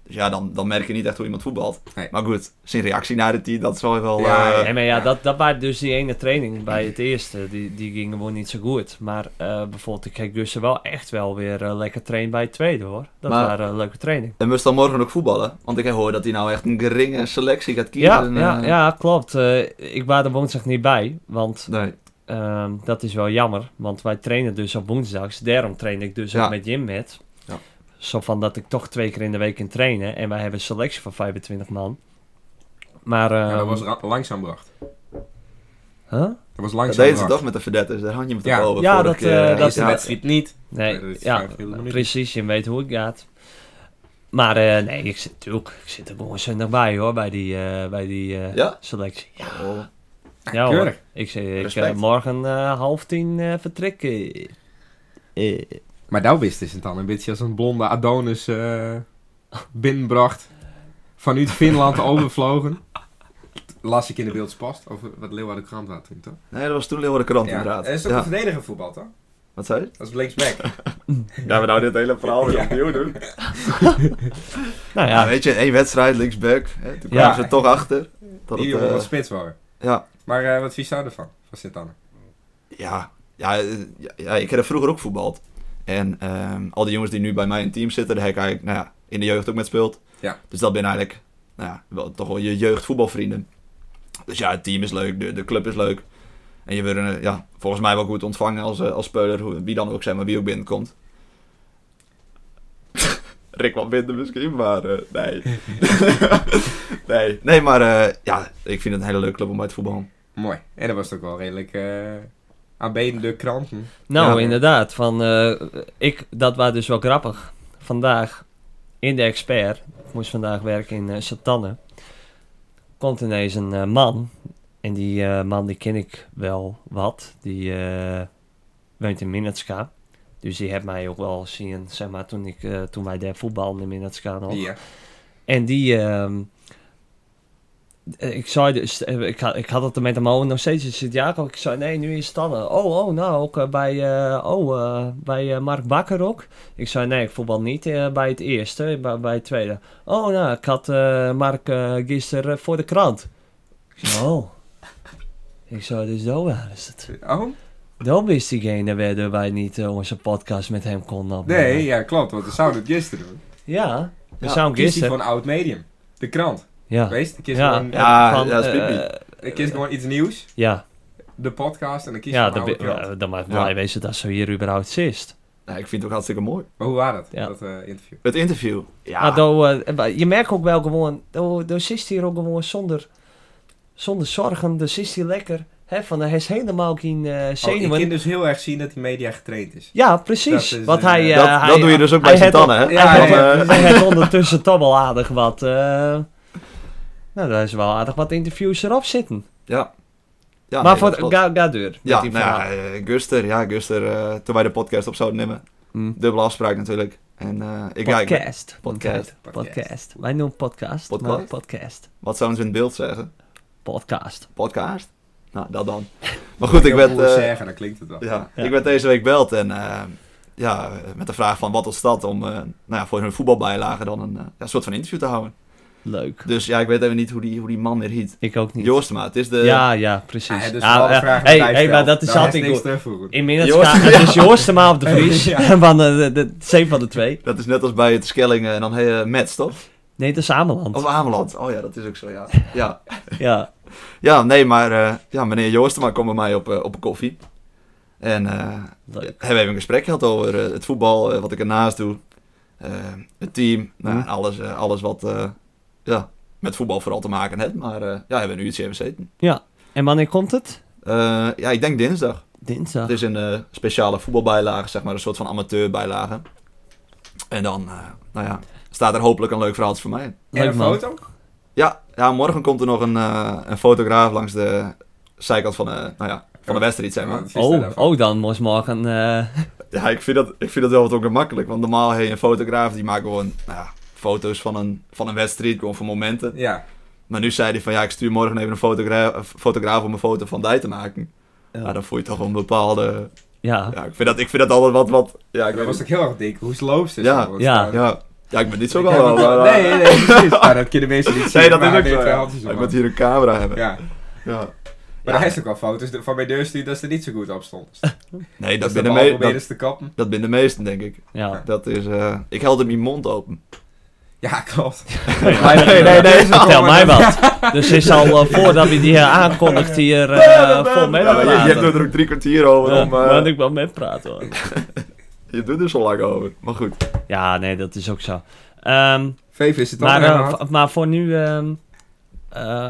Speaker 3: Dus ja, dan, dan merk je niet echt hoe iemand voetbalt.
Speaker 1: Nee.
Speaker 3: Maar goed, zijn reactie naar de team, dat is wel... wel
Speaker 1: Ja,
Speaker 3: eh,
Speaker 2: Nee, maar ja,
Speaker 1: Ja.
Speaker 2: dat, dat waren dus die ene training bij het eerste. Die, die ging gewoon niet zo goed. Maar eh, bijvoorbeeld, ik kijk dus wel echt wel weer eh, lekker trainen bij het tweede, hoor. Dat
Speaker 3: Maar-
Speaker 2: waren eh, leuke training.
Speaker 3: En moest dan morgen ook voetballen? Want ik hoor dat hij nou echt een geringe selectie gaat kiezen.
Speaker 2: Ja,
Speaker 3: En,
Speaker 2: ja,
Speaker 3: eh,
Speaker 2: ja, klopt. Eh, ik was er woensdag niet bij, want
Speaker 3: Nee.
Speaker 2: Ehm, dat is wel jammer, want wij trainen dus op woensdags. Daarom train ik dus
Speaker 3: Ja.
Speaker 2: ook met Jim met.
Speaker 3: Ja.
Speaker 2: Zo van dat ik toch twee keer in de week in trainen. En wij hebben een selectie van 25 man. Maar... ehm,
Speaker 1: Ja, dat was ra- langzaam bracht.
Speaker 2: huh?
Speaker 1: Dat was
Speaker 3: Dat
Speaker 1: langzaam
Speaker 3: deed ze
Speaker 1: bracht.
Speaker 3: toch met de verdetters, daar hang je met de
Speaker 1: Ja.
Speaker 3: boven.
Speaker 2: Ja,
Speaker 3: vorige
Speaker 2: dat,
Speaker 3: keer.
Speaker 2: eh,
Speaker 1: De
Speaker 2: dat-
Speaker 1: eerste
Speaker 3: ja.
Speaker 1: wedstrijd niet.
Speaker 2: Nee,
Speaker 1: dat is
Speaker 2: ja,
Speaker 1: vijf hele minuten.
Speaker 2: precies. Je weet hoe het gaat. Maar eh, nee, ik zit natuurlijk... Ik zit er gewoon zondag bij hoor, bij die, eh, bij die eh,
Speaker 3: Ja?
Speaker 2: selectie. Ja,
Speaker 3: Oh,
Speaker 2: ja hoor.
Speaker 1: keurig.
Speaker 2: Ik, zeg, ik
Speaker 3: Respect.
Speaker 2: eh, morgen eh, half tien eh, vertrekken. Eh,
Speaker 1: Maar daar wist is het dan een beetje als een blonde Adonis eh binnenbracht. Vanuit Finland overvlogen. Las ik in de beeldspast. Of wat Leeuwarden krant had toen, toch?
Speaker 3: Nee, dat was toen Leeuwarden Krant inderdaad.
Speaker 1: Hij is ook
Speaker 3: Ja.
Speaker 1: een verdediger voetbal, toch?
Speaker 3: Wat zei je?
Speaker 1: Dat is linksback.
Speaker 4: Gaan we nou dit hele verhaal weer opnieuw doen?
Speaker 2: Nou
Speaker 3: Ja,
Speaker 2: ja,
Speaker 3: weet je, één wedstrijd, linksback. Hè, toen kwamen
Speaker 2: Ja.
Speaker 3: ze er toch achter. Dat
Speaker 1: Die
Speaker 3: het,
Speaker 1: jongen
Speaker 3: eh,
Speaker 1: wat spits waren.
Speaker 3: ja,
Speaker 1: Maar eh, wat vies zou je ervan? Van sint anne
Speaker 3: ja, ja, eh, ja, ja, ik heb er vroeger ook voetbald. En ehm, al die jongens die nu bij mij in het team zitten, daar heb ik eigenlijk nou ja, in de jeugd ook met speeld.
Speaker 1: Ja.
Speaker 3: Dus dat ben eigenlijk nou ja, wel, toch wel je jeugdvoetbalvrienden. Dus ja, het team is leuk, de, de club is leuk. En je wordt eh, ja, volgens mij wel goed ontvangen als, eh, als speler, hoe- wie dan ook zijn, maar wie ook binnenkomt.
Speaker 4: Rick wat minder misschien, maar eh, nee. nee.
Speaker 3: Nee, maar eh, ja, ik vind het een hele leuke club om bij te voetballen.
Speaker 1: Mooi. En dat was toch wel redelijk eh aanbedende kranten.
Speaker 2: nou
Speaker 3: Ja.
Speaker 2: inderdaad. Van, eh, ik, dat was dus wel grappig. Vandaag in de expert, ik moest vandaag werken in eh Satanne, komt ineens een eh, man. En die eh, man die ken ik wel wat. Die eh, woont in Minatska. Dus die heeft mij ook wel zien, zeg maar, toen, ik, eh, toen wij daar voetbalden in Minatska nog.
Speaker 1: Ja.
Speaker 2: En die, ehm, ik zei dus, eh, ik had, ik had het er met hem over nog steeds in Sint-Jacob. Ik zei, nee, nu in Stannen. Oh, oh, nou, ook eh, bij, eh, oh, eh, bij eh, Mark Bakker ook. Ik zei, nee, ik voetbal niet eh, bij het eerste, bij, bij het tweede. Oh, nou, ik had eh, Mark eh, gisteren voor de krant. Ik zei, oh. Ik zei, dus dat was het.
Speaker 1: Oh?
Speaker 2: Dat wist diegene waardoor wij niet eh, onze podcast met hem konden opnemen.
Speaker 1: Nee, ja, klopt. Want we zouden het gisteren doen.
Speaker 2: Ja, we
Speaker 3: Ja,
Speaker 2: zouden
Speaker 1: Kies die
Speaker 2: gisteren...
Speaker 1: van oud medium. De krant.
Speaker 2: Ja,
Speaker 1: Wees, kies,
Speaker 2: Ja.
Speaker 1: gewoon,
Speaker 3: Ja,
Speaker 2: van,
Speaker 3: ja, dat is
Speaker 2: eh,
Speaker 3: pipi.
Speaker 1: ik kies gewoon iets nieuws.
Speaker 2: ja.
Speaker 1: De podcast en dan kies je
Speaker 2: ja,
Speaker 1: van
Speaker 2: dan,
Speaker 1: oude
Speaker 2: ben-
Speaker 1: krant.
Speaker 2: ja, dan mag ik
Speaker 3: Ja.
Speaker 2: blij wezen dat ze hier überhaupt zist.
Speaker 3: Ja, ik vind het ook hartstikke mooi.
Speaker 1: Maar hoe was dat,
Speaker 2: Ja.
Speaker 1: dat eh, interview?
Speaker 3: Het interview. Ja,
Speaker 2: Maar dan, eh, maar je merkt ook wel gewoon, dan dan zist hier ook gewoon zonder, zonder zorgen, dan zist hier lekker. Hè, van, hij is helemaal geen eh
Speaker 1: Oh, ik
Speaker 2: zenuwen.
Speaker 1: kan dus heel erg zien dat die media getraind is.
Speaker 2: Ja, precies.
Speaker 1: Dat is,
Speaker 2: Want
Speaker 1: eh,
Speaker 2: hij, eh,
Speaker 3: dat,
Speaker 2: hij,
Speaker 3: dat doe je dus ook bij
Speaker 2: hij had
Speaker 3: Sint-Anne, hè?
Speaker 1: Ja,
Speaker 2: hij
Speaker 3: Want,
Speaker 1: ja,
Speaker 3: eh,
Speaker 2: heeft- hij heeft ondertussen toch wel aardig wat, eh, nou, daar is wel aardig wat interviews erop zitten.
Speaker 3: Ja. ja
Speaker 2: maar
Speaker 3: nee,
Speaker 2: voor,
Speaker 3: dat klopt.
Speaker 2: ga, ga deur.
Speaker 3: Ja,
Speaker 2: die
Speaker 3: nou ja,
Speaker 2: verhaal.
Speaker 3: eh, Guster, ja, Guster, eh, toen wij de podcast op zouden nemen.
Speaker 2: Mm.
Speaker 3: Dubbele afspraak natuurlijk. En eh, ik ja, ik-
Speaker 2: Podcast.
Speaker 3: Podcast.
Speaker 2: Podcast. Podcast. Wij noemen podcast. maar
Speaker 3: Podcast?
Speaker 2: Podcast.
Speaker 3: wat zouden ze in het beeld zeggen?
Speaker 2: Podcast.
Speaker 3: Podcast? Nou, dat dan. Maar goed, ik
Speaker 1: Heel
Speaker 3: werd,
Speaker 1: cool
Speaker 3: eh,
Speaker 1: zeggen, dan klinkt het wel. Ah, dus
Speaker 3: ja,
Speaker 2: Ja.
Speaker 3: ik werd deze week gebeld en eh, ja, met de vraag van wat was dat om eh, nou ja, voor hun voetbalbijlage dan een eh, ja, soort van interview te houden.
Speaker 2: Leuk.
Speaker 3: Dus ja, ik weet even niet hoe die, hoe die man weer hiet.
Speaker 2: Ik ook niet.
Speaker 3: Joost, maar het is de...
Speaker 2: ja, ja, precies.
Speaker 1: Ja, dus
Speaker 2: Ah,
Speaker 1: alle
Speaker 2: eh,
Speaker 1: vragen
Speaker 2: hey,
Speaker 1: die hij
Speaker 2: hey,
Speaker 1: stelt,
Speaker 2: maar dat is
Speaker 1: daar
Speaker 2: altijd
Speaker 1: niks
Speaker 2: goed.
Speaker 1: terug voor goed.
Speaker 2: Inmiddels
Speaker 3: Joost-
Speaker 2: gaat het is Joost er maar op de Vries.
Speaker 1: Ja.
Speaker 2: Van eh, de, de, zeven van de twee.
Speaker 3: Dat is net als bij het Skellingen en dan hey, eh, Mets, toch?
Speaker 2: Nee, dat is Ameland.
Speaker 3: Of Ameland. Oh ja, dat is ook zo, ja. Ja,
Speaker 2: Ja.
Speaker 3: Ja, nee, maar eh, ja, meneer Joostema kwam bij mij op, eh, op een koffie. En eh,
Speaker 2: Leuk.
Speaker 3: hebben we even een gesprek gehad over eh, het voetbal, eh, wat ik ernaast doe. eh, het team, nou,
Speaker 2: Mhm.
Speaker 3: alles, eh, alles wat eh, ja, met voetbal vooral te maken heeft. Maar eh, ja, hebben we nu iets even gezeten.
Speaker 2: En wanneer komt het?
Speaker 3: Eh, ja, ik denk dinsdag.
Speaker 2: Dinsdag.
Speaker 3: Het is een eh, speciale voetbalbijlage, zeg maar, een soort van amateurbijlage. En dan, eh, nou ja, staat er hopelijk een leuk verhaaltje voor mij in.
Speaker 1: En
Speaker 2: Leuk
Speaker 1: een
Speaker 2: man.
Speaker 1: foto?
Speaker 3: Ja, ja, morgen komt er nog een, eh, een fotograaf langs de zijkant van, eh, nou ja, van de wedstrijd, zeg maar.
Speaker 1: Wat vies
Speaker 2: Oh,
Speaker 1: daarvan?
Speaker 2: oh, dan moest morgen... eh
Speaker 3: Ja, ik vind dat, ik vind dat wel wat ongemakkelijk. Want normaal heb je een fotograaf die maakt gewoon nou ja, foto's van een, van een wedstrijd, gewoon voor momenten.
Speaker 1: Ja,
Speaker 3: Maar nu zei hij van ja, ik stuur morgen even een fotograaf, fotograaf om een foto van Dij te maken. Ja,
Speaker 2: ja.
Speaker 3: dan voel je toch wel een bepaalde.
Speaker 2: Ja.
Speaker 3: Ja, ik vind dat, ik vind dat altijd wat. wat ja, ik
Speaker 1: dat
Speaker 3: weet
Speaker 1: was
Speaker 3: niet.
Speaker 1: ook heel erg dik. Hoe sloop ze?
Speaker 3: Ja,
Speaker 1: Zo,
Speaker 2: ja.
Speaker 1: want, eh,
Speaker 3: ja. ja, ik ben niet zo
Speaker 1: ik heb
Speaker 3: wel.
Speaker 1: het wel-
Speaker 3: maar- eh,
Speaker 1: Nee, nee, precies. Maar dat kunnen mensen niet zien.
Speaker 3: Nee, dat
Speaker 1: maar
Speaker 3: is
Speaker 1: hij
Speaker 3: ook
Speaker 1: deed
Speaker 3: zo.
Speaker 1: wel
Speaker 3: Ja.
Speaker 1: handjes
Speaker 3: Ik
Speaker 1: omhoog.
Speaker 3: moet hier een camera hebben.
Speaker 1: Ja,
Speaker 3: Ja.
Speaker 1: maar er is ook wel foto's de- van mijn deur stuurt dat ze er niet zo goed op stond. Dus
Speaker 3: Nee, dat
Speaker 1: de
Speaker 3: ben de
Speaker 1: bal
Speaker 3: me-
Speaker 1: proberen
Speaker 3: dat-
Speaker 1: ze te kappen.
Speaker 3: dat ben de meesten, denk ik.
Speaker 2: Ja.
Speaker 3: Dat is, eh, ik held hem mijn mond open.
Speaker 1: Ja, klopt.
Speaker 3: nee, nee, nee,
Speaker 1: Deze
Speaker 2: Vertel
Speaker 1: komen
Speaker 2: mij
Speaker 1: dan-
Speaker 2: wat. Dus is al eh, voordat we die hier aankondigt hier eh, vol mee
Speaker 3: Ja, je, je hebt er
Speaker 2: praten.
Speaker 3: ook drie kwartier over.
Speaker 2: Ja,
Speaker 3: om, eh,
Speaker 2: want ik wel mee praten hoor.
Speaker 3: Je doet er zo lang over. Maar goed.
Speaker 2: Ja, nee, dat is ook zo. Ehm,
Speaker 1: VV is het
Speaker 2: Maar,
Speaker 1: allemaal
Speaker 2: eh,
Speaker 1: gehad.
Speaker 2: v- maar voor nu, ehm, eh,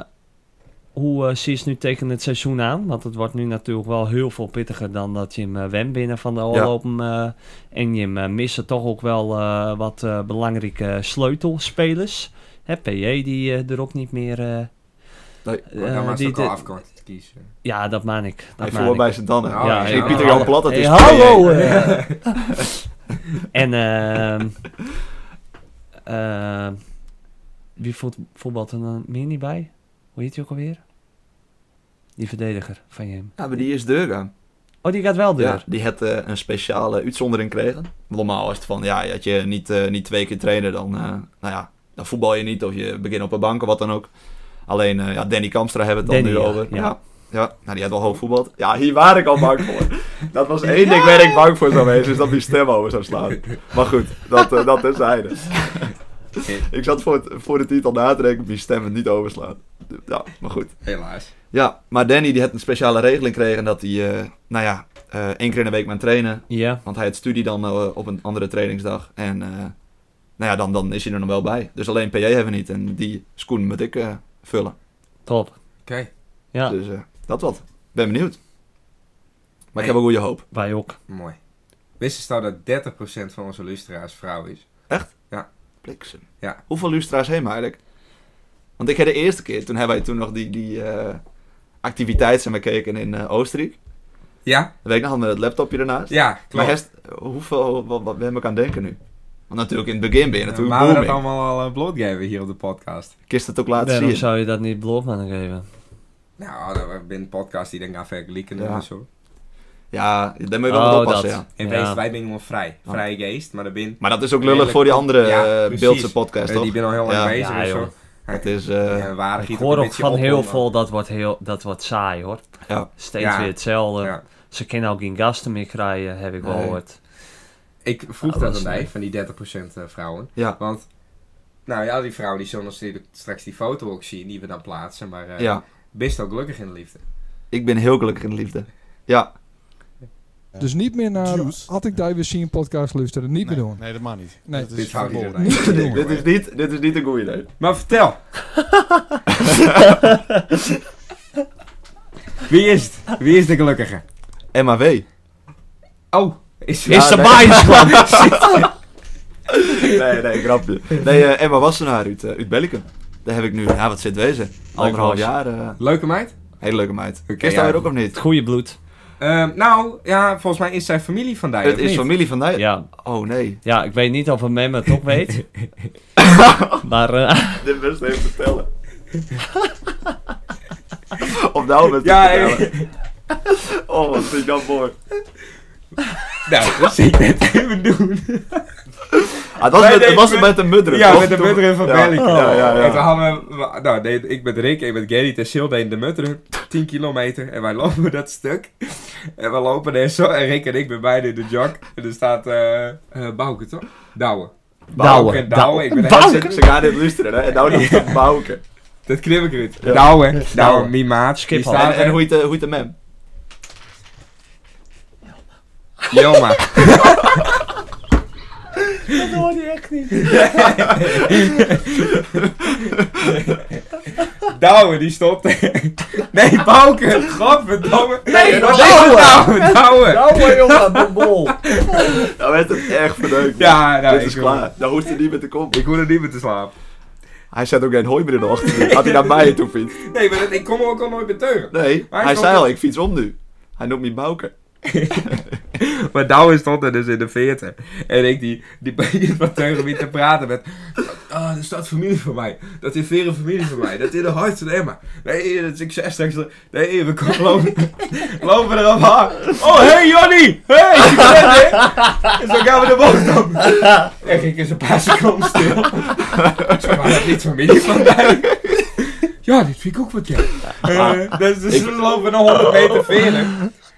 Speaker 2: hoe eh zie je het nu tegen het seizoen aan? Want het wordt nu natuurlijk wel heel veel pittiger dan dat je hem eh, went binnen van de oorlopen. eh, en je hem eh, missen toch ook wel eh, wat eh, belangrijke sleutelspelers. Hè, PJ die eh, er ook niet meer... eh,
Speaker 3: Nee,
Speaker 1: Maar dan
Speaker 2: eh,
Speaker 1: was
Speaker 2: die
Speaker 1: het ook al
Speaker 2: de-
Speaker 1: afkort te kiezen.
Speaker 2: Ja, dat maan ik. Dat
Speaker 3: Hij
Speaker 2: maan
Speaker 3: voetbal
Speaker 2: ik.
Speaker 3: bij zijn dan.
Speaker 1: Nou,
Speaker 2: Oh, ja,
Speaker 3: Ja,
Speaker 2: ja.
Speaker 3: Pieter Jan Plat, dat
Speaker 2: Hey,
Speaker 3: is
Speaker 2: hallo! eh. en ehm ehm, wie voelt, voetbalt er dan meer niet bij? Hoe heet hij ook alweer? Die verdediger van je.
Speaker 3: Ja, maar die is Durga.
Speaker 2: Oh, die gaat wel door.
Speaker 3: Ja, die had eh, een speciale uitzondering gekregen. Normaal is het van, ja, dat je niet, eh, niet twee keer trainen, dan, eh, nou ja, dan voetbal je niet of je begint op een bank of wat dan ook. Alleen eh, ja, Danny Kamstra hebben we het dan
Speaker 2: Danny,
Speaker 3: nu
Speaker 2: ja,
Speaker 3: over.
Speaker 2: ja.
Speaker 3: Ja. Ja. nou, die had wel hoog voetbald. Ja, hier waar ik al bang voor. Dat was één ding waar ik bang voor zou wezen, is dat die stem over zou slaan. Maar goed, dat, eh, dat terzijde. ik zat voor, het, voor de titel na te denken, die stem het niet overslaat. Ja, maar goed.
Speaker 1: Helaas.
Speaker 3: Ja, maar Danny die had een speciale regeling gekregen dat hij, eh, nou ja, eh, één keer in de week maar trainen.
Speaker 2: Ja.
Speaker 3: Want hij had studie dan eh, op een andere trainingsdag. En eh, nou ja, dan, dan is hij er nog wel bij. Dus alleen PJ hebben we niet. En die schoen moet ik eh, vullen.
Speaker 2: top.
Speaker 1: Oké.
Speaker 2: Ja,
Speaker 3: Dus eh, dat wat. Ben benieuwd.
Speaker 1: Nee.
Speaker 3: Maar ik heb een goede hoop.
Speaker 2: wij ook.
Speaker 1: Mooi. Wist je nou dat 30% van onze luisteraars vrouw is?
Speaker 3: Bliksem.
Speaker 1: Ja.
Speaker 3: Hoeveel lustra's heen eigenlijk? Want ik heb de eerste keer, toen hebben wij toen nog die, die eh, activiteit zijn bekeken in eh, Oostenrijk.
Speaker 1: Ja,
Speaker 3: Dan weet ik nog hadden we het laptopje ernaast.
Speaker 1: ja,
Speaker 3: Maar
Speaker 1: klopt.
Speaker 3: Hest, hoeveel, wat, wat ben ik aan het denken nu? Want natuurlijk in het begin ben je
Speaker 1: Eh,
Speaker 3: natuurlijk
Speaker 1: maar we dat
Speaker 3: booming.
Speaker 1: allemaal al eh, blootgeven hier op de podcast.
Speaker 3: Kist het ook laten
Speaker 2: Daarom
Speaker 3: zien.
Speaker 2: zou je dat niet bloot aan geven.
Speaker 1: Nou, dat we binnen podcast die dan gaan vergelijken
Speaker 3: Ja.
Speaker 1: en zo.
Speaker 3: Ja, daar moet je wel
Speaker 1: Oh,
Speaker 3: wat oppassen, ja.
Speaker 1: In
Speaker 2: Oh, Ja.
Speaker 1: wezen, wij zijn wel vrij.
Speaker 3: Ja.
Speaker 1: Vrij geest, maar dat ben...
Speaker 3: Maar dat is ook lullig
Speaker 1: Redelijk
Speaker 3: voor die
Speaker 1: kom-
Speaker 3: andere
Speaker 1: Ja,
Speaker 3: eh,
Speaker 1: precies.
Speaker 3: Beeldse podcast,
Speaker 1: eh,
Speaker 3: toch?
Speaker 1: die ben al heel lang
Speaker 3: Ja.
Speaker 1: bezig
Speaker 2: Ja,
Speaker 1: en
Speaker 2: joh.
Speaker 1: zo.
Speaker 3: Het is... eh,
Speaker 1: en waar
Speaker 2: Ik
Speaker 1: giet
Speaker 2: hoor
Speaker 1: ook een
Speaker 2: ook
Speaker 1: beetje
Speaker 2: van
Speaker 1: op,
Speaker 2: heel
Speaker 1: hoor,
Speaker 2: veel, dat wordt, heel, dat wordt saai hoor.
Speaker 3: ja.
Speaker 2: Steeds
Speaker 1: Ja.
Speaker 2: weer hetzelfde.
Speaker 1: maar- Ja.
Speaker 2: Ze kunnen ook geen gasten meer krijgen, heb ik wel
Speaker 3: Nee.
Speaker 2: gehoord.
Speaker 1: Ik vroeg
Speaker 2: Oh, dat
Speaker 1: dat
Speaker 2: is
Speaker 1: aan mij,
Speaker 2: leuk.
Speaker 1: van die 30% vrouwen.
Speaker 3: Ja.
Speaker 1: Want, nou ja, die vrouwen die zullen natuurlijk straks die foto ook zien, die we dan plaatsen. Maar eh
Speaker 3: ja,
Speaker 1: best ook gelukkig in de liefde.
Speaker 3: ik ben heel gelukkig in de liefde. Ja,
Speaker 5: Dus niet meer naar
Speaker 6: Juice.
Speaker 5: had ik daar weer zien podcast luisteren. Niet
Speaker 6: nee,
Speaker 5: meer doen.
Speaker 6: Nee, dat mag niet.
Speaker 5: Nee.
Speaker 6: dat
Speaker 1: Dit
Speaker 6: is
Speaker 1: houdt
Speaker 6: verboden.
Speaker 1: iedereen.
Speaker 5: Niet meer doen.
Speaker 3: dit is niet, dit is niet een goede idee.
Speaker 1: Maar vertel. Wie is het? Wie is de gelukkige?
Speaker 3: MAW.
Speaker 1: Oh, is,
Speaker 3: Ja,
Speaker 2: is de
Speaker 3: nee.
Speaker 2: baas gewoon?
Speaker 3: Nee, nee, grapje. Nee, eh, Emma Wassenaar uit, eh, uit Bellicum. Daar heb ik nu, ja, wat zit wezen? Anderhalf
Speaker 2: was.
Speaker 3: jaar. eh,
Speaker 1: Leuke meid?
Speaker 3: hele leuke meid.
Speaker 1: Oké,
Speaker 3: Kist daar
Speaker 1: ja.
Speaker 3: weer ook of niet?
Speaker 2: Het goede bloed.
Speaker 1: Ehm, nou, ja, volgens mij is zijn familie van daar.
Speaker 3: Het is familie van mij.
Speaker 2: Ja.
Speaker 3: Oh nee.
Speaker 2: ja, ik weet niet of een mem het ook weet. maar eh,
Speaker 3: Dit best even vertellen. of nou met
Speaker 1: Ja,
Speaker 3: Oh, wat vind ik dat mooi.
Speaker 1: Nou, dat zie ik net even doen.
Speaker 3: Ah, het was,
Speaker 1: Nee,
Speaker 3: met,
Speaker 1: nee,
Speaker 3: het was
Speaker 1: met-
Speaker 3: met de mudderen.
Speaker 1: Ja,
Speaker 3: toch?
Speaker 1: met de
Speaker 3: Toen-
Speaker 1: mutteren van
Speaker 3: ja,
Speaker 1: Bellingham.
Speaker 3: Ja, ja,
Speaker 1: En we
Speaker 3: ja.
Speaker 1: hadden, we- nou, nee, ik ben Rick, ik ben Gerrit en Sil deden de mutteren. 10 kilometer. En wij lopen dat stuk. En we lopen daar zo. En Rick en ik ben beide in de jog. En er staat eh eh Bouke, toch? Douwe. Bouke en Douwe. Ik ben de hele
Speaker 3: Ze, ze gaan dit luisteren, hè? En nou dan ja. bouwen.
Speaker 1: Dat knip ik eruit.
Speaker 3: Ja.
Speaker 1: Douwe. Douwe,
Speaker 2: Douwe.
Speaker 1: mijn maat. Die
Speaker 2: Schiphol.
Speaker 1: staat
Speaker 3: En, en
Speaker 1: er.
Speaker 3: hoe heet de, hoe heet de mem?
Speaker 1: Joma.
Speaker 2: dat hoor je echt niet.
Speaker 1: Douwe, die stopt. nee, Bouke. Godverdomme.
Speaker 2: Nee,
Speaker 1: Dat is
Speaker 2: Douwe.
Speaker 1: Douwe. Douwe.
Speaker 2: Nou, maar jongen, de bol.
Speaker 3: Nou werd het echt verneukt. man.
Speaker 1: Ja, nou,
Speaker 3: dit
Speaker 1: ik
Speaker 3: is
Speaker 1: wil-
Speaker 3: klaar. Nou hoeft hij niet meer te komen.
Speaker 1: Ik hoor er niet meer te slapen.
Speaker 3: Hij zet ook geen hooi meer in de ochtend. Had hij naar mij toe fietst.
Speaker 1: Nee, maar dat, ik kom er ook al nooit meer teugen.
Speaker 3: Nee,
Speaker 1: Maar hij
Speaker 3: hij
Speaker 1: stond
Speaker 3: zei
Speaker 1: er-
Speaker 3: al, ik fiets om nu. Hij noemt me Bouke.
Speaker 1: Maar Douwe stond er dus in de 40. En ik die, die begint wat tegen wie te praten met... Ah, dat is dat familie van mij. Dat is veren familie van mij. Dat is de hart van Emma. Nee, dat is succes straks. Nee, we komen lopen, lopen erop aan. Oh, hey Johnny! Hey, succes hè! En zo gaan we de bocht op. En ging ik eens een paar seconden stil. Ik zei, maar dat is niet familie van mij. Ja, dit vind ik ook wat jij. Eh, dus dus we lopen nog 100 meter verder.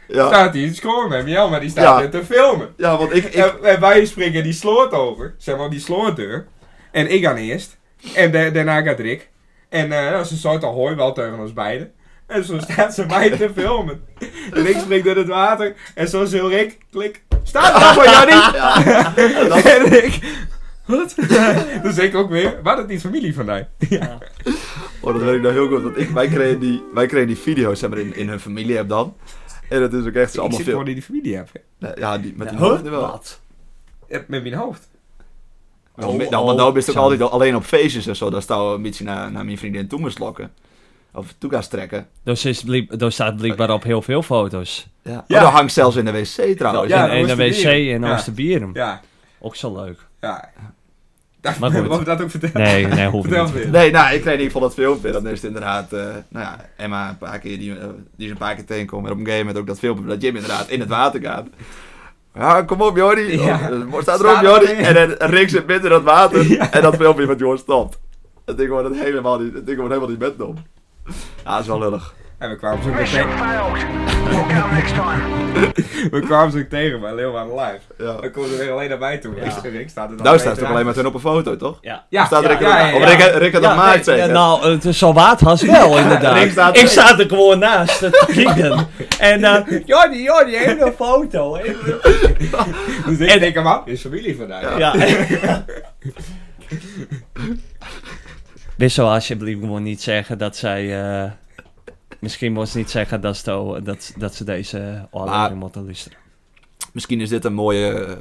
Speaker 3: Ja,
Speaker 1: Staat hij in score met jou, maar die staat
Speaker 3: Ja.
Speaker 1: net te filmen.
Speaker 3: ja want ik... ik
Speaker 1: En, en wij springen die sloot over, zeg maar die slootdeur. En ik aan eerst. En da- daarna gaat Rick. En eh, nou, ze soort al hooi wel tegen ons beiden. En zo staat ze mij te filmen. En ik spring door het water. En zo zil Rick, klik. Staat daar voor jou niet? en ik... Wat? dus ik ook weer. Waar dat niet familie van mij?
Speaker 3: Oh, dat weet ik nou heel goed. Want ik, wij, kregen die, wij kregen die video's zeg maar, in, in hun familie app dan. En dat is ook echt zo
Speaker 1: Ik
Speaker 3: allemaal
Speaker 1: zit
Speaker 3: veel.
Speaker 1: gewoon in die familie heb.
Speaker 3: Nee, Ja, die, met die
Speaker 2: Huh?
Speaker 3: hoofden wel.
Speaker 2: Wat?
Speaker 1: Met mijn hoofd.
Speaker 3: Dan,
Speaker 2: Oh,
Speaker 3: dan, dan, want
Speaker 2: oh,
Speaker 3: nou ben je ook
Speaker 2: zo.
Speaker 3: altijd al- alleen op feestjes en zo. Dan staan we een beetje naar, naar mijn vriendin toe moest lokken. Of toe gaan strekken.
Speaker 2: Dus, is blieb- dus staat blijkbaar op heel veel foto's.
Speaker 3: Ja.
Speaker 1: Ja.
Speaker 3: Oh, dat hangt zelfs in de wc trouwens.
Speaker 1: Ja,
Speaker 2: en, en de wc
Speaker 1: Oosterbieren.
Speaker 2: in
Speaker 1: Ja.
Speaker 2: Oosterbieren.
Speaker 1: Ja,
Speaker 2: Ook zo leuk.
Speaker 1: ja. Dat,
Speaker 2: Maar goed.
Speaker 1: Mag ik dat ook vertellen?
Speaker 2: Nee, nee, hoeft
Speaker 1: Vertel
Speaker 2: niet.
Speaker 1: weer.
Speaker 3: Nee, nou, ik kreeg niet van dat filmpje. Dan is het inderdaad, eh, nou ja, Emma een paar keer, die, eh, die is een paar keer tegenkomen. En op een gegeven moment ook dat filmpje dat Jim inderdaad in het water gaat. Ja, kom op Jordi.
Speaker 1: Ja.
Speaker 3: Oh, staat
Speaker 1: Staat
Speaker 3: erop Jordi.
Speaker 1: erin.
Speaker 3: En dan Rick zit midden in dat water.
Speaker 1: Ja.
Speaker 3: En dat filmpje van Jordi stopt. Dat ding wordt helemaal niet, dat ding wordt helemaal niet met om. Ja, dat is wel lullig.
Speaker 1: En we kwamen zo
Speaker 6: Mission
Speaker 1: tegen,
Speaker 6: failed. We'll get 'em next time.
Speaker 1: we kwamen zo tegen bij Leeuwarden Live.
Speaker 3: Ja.
Speaker 1: Dan komt er weer alleen naar mij toe. Ik, ik sta er dan
Speaker 3: Nou staat het
Speaker 1: toch
Speaker 3: toch alleen maar toen op een foto, toch?
Speaker 2: Ja.
Speaker 1: Ja,
Speaker 3: Staat
Speaker 1: ja,
Speaker 3: Rick, er-
Speaker 1: ja, ja,
Speaker 3: Of
Speaker 1: ja.
Speaker 3: Rick, Rick had
Speaker 2: Ja,
Speaker 3: dat maakt,
Speaker 2: nee,
Speaker 3: zeg.
Speaker 2: ja, nou, het is zo waard was wel, inderdaad.
Speaker 3: Rick staat-
Speaker 2: ik sta er gewoon naast, het krieken. En eh, dan, Jordi, Jordi, hele foto. even-
Speaker 1: Dus ik
Speaker 2: En-
Speaker 1: denk, man, is familie vandaag. Ja.
Speaker 2: Ja. Wissel alsjeblieft gewoon niet zeggen dat zij... eh, misschien moest niet zeggen dat, ze to- dat, dat ze deze
Speaker 3: Maar-
Speaker 2: aflevering moeten luisteren.
Speaker 3: Misschien is dit een mooie,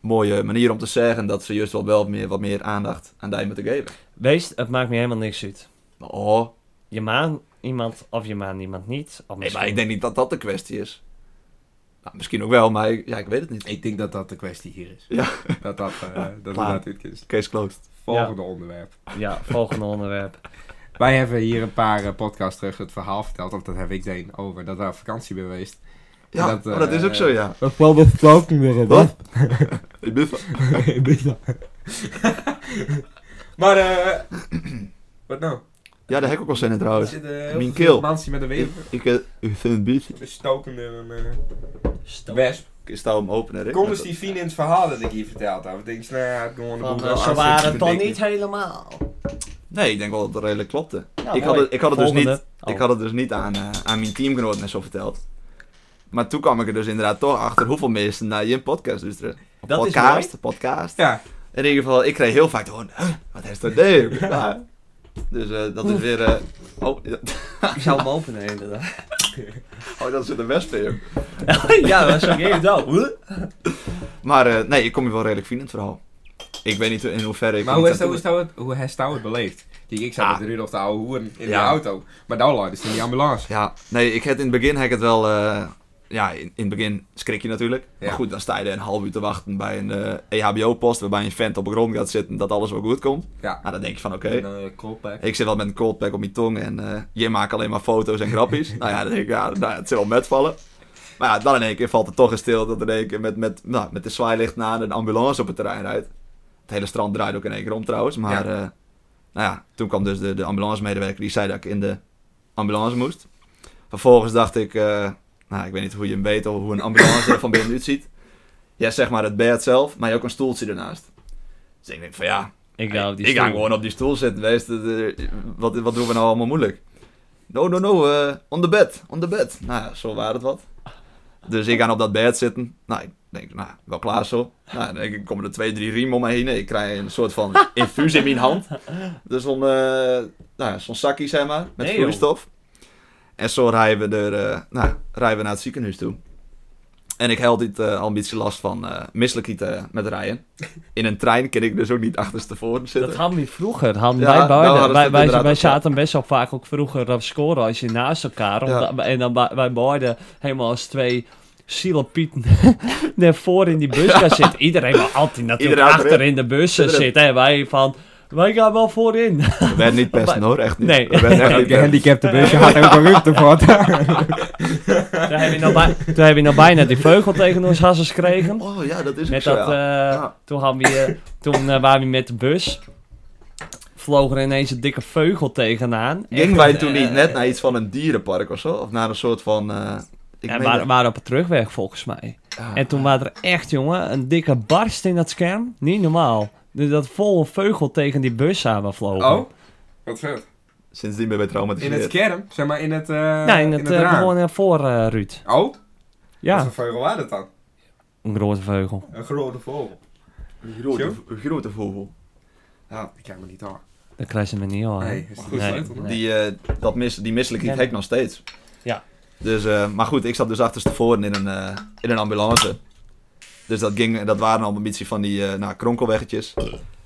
Speaker 3: mooie manier om te zeggen dat ze juist wel, wel meer, wat meer aandacht aan die moeten geven.
Speaker 2: Wees, het maakt me helemaal niks uit.
Speaker 3: Oh,
Speaker 2: Je maan iemand of je maan iemand niet. Of
Speaker 3: nee,
Speaker 2: misschien...
Speaker 3: maar ik denk niet dat dat de kwestie is. Nou, misschien ook wel, maar ik, ja, ik weet het niet.
Speaker 1: Ik denk dat dat de kwestie hier is.
Speaker 3: Ja.
Speaker 1: Dat dat, eh dat,
Speaker 3: klaar.
Speaker 1: dat dit is.
Speaker 3: Case closed.
Speaker 1: Volgende onderwerp.
Speaker 2: Ja, volgende onderwerp.
Speaker 1: Wij hebben hier een paar eh, podcasts terug het verhaal verteld, of dat heb ik deed, over dat we op vakantie ben geweest.
Speaker 3: Ja,
Speaker 1: Dat,
Speaker 3: dat,
Speaker 1: eh,
Speaker 3: dat is ook zo, ja.
Speaker 5: Dat valt de verplaatsing weer op,
Speaker 3: Wat? Ik ben van-
Speaker 1: Maar, eh wat nou?
Speaker 3: Ja, daar heb ik ook wel zin in
Speaker 1: Er
Speaker 3: trouwens.
Speaker 1: zit eh,
Speaker 3: Mijn
Speaker 1: heel
Speaker 3: Nou, keel.
Speaker 1: veel mansie met een
Speaker 3: Ik,
Speaker 1: wever.
Speaker 3: ik, eh, ik vind het biet.
Speaker 1: Een stokende een, eh wesp.
Speaker 3: Ik sta hem open en Rick.
Speaker 1: Kom eens die fine in het verhaal dat ik hier verteld heb. Ik denk, nou ja, het gewoon de
Speaker 2: Want
Speaker 1: boel
Speaker 3: eh,
Speaker 1: wel
Speaker 2: eh, ze
Speaker 1: aan
Speaker 2: waren
Speaker 1: zitten
Speaker 2: het toch
Speaker 1: bedenken.
Speaker 2: niet helemaal.
Speaker 3: Nee, ik denk wel dat het redelijk klopte.
Speaker 2: Ja,
Speaker 3: ik, had
Speaker 2: mooi.
Speaker 3: het, ik, had het dus
Speaker 2: Volgende.
Speaker 3: niet,
Speaker 2: Oh.
Speaker 3: ik had het dus niet aan, eh, aan mijn teamgenoot net zo verteld. Maar toen kwam ik er dus inderdaad toch achter hoeveel mensen naar je podcast luisteren.
Speaker 2: Dat is
Speaker 3: podcast, podcast.
Speaker 1: Ja,
Speaker 3: In ieder geval, ik kreeg heel vaak gewoon, "Huh, wat is dat nee? Ja. Dus eh, dat is weer, eh, oh, ja,
Speaker 2: Ik zou hem openen inderdaad.
Speaker 3: oh, dat zit een wesp in. joh.
Speaker 2: ja, dat is ook even zo.
Speaker 3: Maar eh, nee, ik kom je wel redelijk vriend in het verhaal. Ik weet niet in hoeverre ik...
Speaker 1: maar
Speaker 3: er
Speaker 1: hoe
Speaker 3: niet
Speaker 1: is dat,
Speaker 3: aan
Speaker 1: hoe is
Speaker 3: toe-
Speaker 1: dat, het- hoe heeft dat het beleefd? Kijk, ik zat
Speaker 3: Ah.
Speaker 1: met Rudolf de oude hoer in
Speaker 3: Ja.
Speaker 1: de auto. Maar nou, Lord, is in die ambulance.
Speaker 3: Ja, nee, ik had in het begin had ik het wel... eh, ja, in, in het begin schrik je natuurlijk.
Speaker 1: Ja.
Speaker 3: Maar goed, dan sta je er een half uur te wachten bij een eh, EHBO-post... waarbij een vent op de grond gaat zitten dat alles wel goed komt.
Speaker 1: Ja.
Speaker 3: Nou, dan denk je van, oké.
Speaker 1: En dan eh, kop, hè.
Speaker 3: Ik zit wel met een cold pack op mijn tong en eh, je maakt alleen maar foto's en grappies. nou ja, dan denk ik, ja, nou, ja, het zal wel metvallen. Maar ja, dan in één keer valt het toch eens stil dat in één keer met, met, nou, met de zwaailicht naar een ambulance op het terrein rijdt. Het hele strand draait ook in één keer om trouwens. Maar eh, nou ja, toen kwam dus de, de ambulancemedewerker die zei dat ik in de ambulance moest. Vervolgens dacht ik, eh, nou ik weet niet hoe je hem weet of hoe een ambulance er van binnen uitziet. Je hebt zeg maar het bed zelf, maar je hebt ook een stoeltje ernaast. Dus ik denk van ja,
Speaker 2: Ik hou die
Speaker 3: ik ga
Speaker 2: stoel.
Speaker 3: gewoon op die stoel zitten. Wees, het, eh, wat, wat doen we nou allemaal moeilijk? No, no, no. eh, on the bed. On the bed. Nou ja, zo waren het wat. Dus ik ga op dat bed zitten. Nou, ik denk, nou, wel klaar zo. Nou, dan denk ik, komen er twee, drie riemen om me heen. Ik krijg een soort van infuus in mijn hand. Dus zo'n, eh nou, ja, zo'n zakje, zeg maar,
Speaker 2: Nee,
Speaker 3: met
Speaker 2: joh.
Speaker 3: vloeistof. En zo rijden we, er, eh, nou, rijden we naar het ziekenhuis toe. En ik heb altijd eh, al een beetje last van eh misselijkheid eh, met rijden. In een trein kan ik dus ook niet achterstevoren zitten.
Speaker 2: Dat hadden we vroeger. Hadden
Speaker 3: Ja,
Speaker 2: wij,
Speaker 3: nou
Speaker 2: beide.
Speaker 3: hadden ze
Speaker 2: wij,
Speaker 3: het
Speaker 2: wij,
Speaker 3: inderdaad
Speaker 2: wij
Speaker 3: ook, ja.
Speaker 2: zaten best wel vaak ook vroeger op scoren als je naast elkaar. omdat- en dan ba- wij beide helemaal als twee zielepieten naar voren in die bus gaan zitten. Iedereen wil altijd natuurlijk
Speaker 3: Iedereen
Speaker 2: achter in de bus
Speaker 3: Iedereen.
Speaker 2: zitten. En wij van, wij gaan wel voorin.
Speaker 3: We werden niet pesten hoor, echt niet.
Speaker 2: Nee.
Speaker 3: We werden echt niet pesten.
Speaker 1: gehandicapte busje had ook een rupte voor.
Speaker 2: Toen hebben we nou, bij- toen hebben we nou bijna die vleugel tegen ons hasses gekregen.
Speaker 3: Oh ja, dat is ook
Speaker 2: Met
Speaker 3: zo,
Speaker 2: dat,
Speaker 3: ja.
Speaker 2: eh,
Speaker 3: Ja.
Speaker 2: Toen, hadden we, eh, toen eh, waren we met de bus. Vloog er ineens een dikke vleugel tegenaan.
Speaker 3: Gingen
Speaker 2: Echt,
Speaker 3: wij toen
Speaker 2: eh,
Speaker 3: niet net naar iets van een dierenpark of zo? Of naar een soort van... eh, ik
Speaker 2: En
Speaker 3: meen
Speaker 2: waren,
Speaker 3: dat- Ah,
Speaker 2: waren op het terugweg volgens mij.
Speaker 3: Ja.
Speaker 2: En toen waren er echt, jongen, een dikke barst in dat scherm. Niet normaal. Dus dat vol vleugel tegen die bus samenvlogen.
Speaker 1: Oh, wat vet.
Speaker 3: Sindsdien ben ik
Speaker 1: In het
Speaker 3: traumatiseerd.
Speaker 1: scherm? Zeg maar in het, eh
Speaker 2: Ja, in het, eh,
Speaker 1: raam.
Speaker 2: gewoon eh, voor, eh, Ruud.
Speaker 1: Oh, wat
Speaker 2: Ja,
Speaker 1: voor vogel was dat dan?
Speaker 2: een grote vleugel.
Speaker 1: Een grote vogel.
Speaker 3: Een grote, een grote vogel.
Speaker 1: Ja, die kan me niet hoor.
Speaker 2: Dat krijg je me niet hoor.
Speaker 1: Nee, is het goed sleutel, hè?
Speaker 3: Die, eh, dat mis, die misselijkheid
Speaker 2: Ja.
Speaker 3: heb ik nog steeds.
Speaker 2: Ja.
Speaker 3: Dus, eh, maar goed, ik zat dus achterstevoren in een, eh, in een ambulance. Dus dat, ging, dat waren allemaal een beetje van die eh nou, kronkelweggetjes.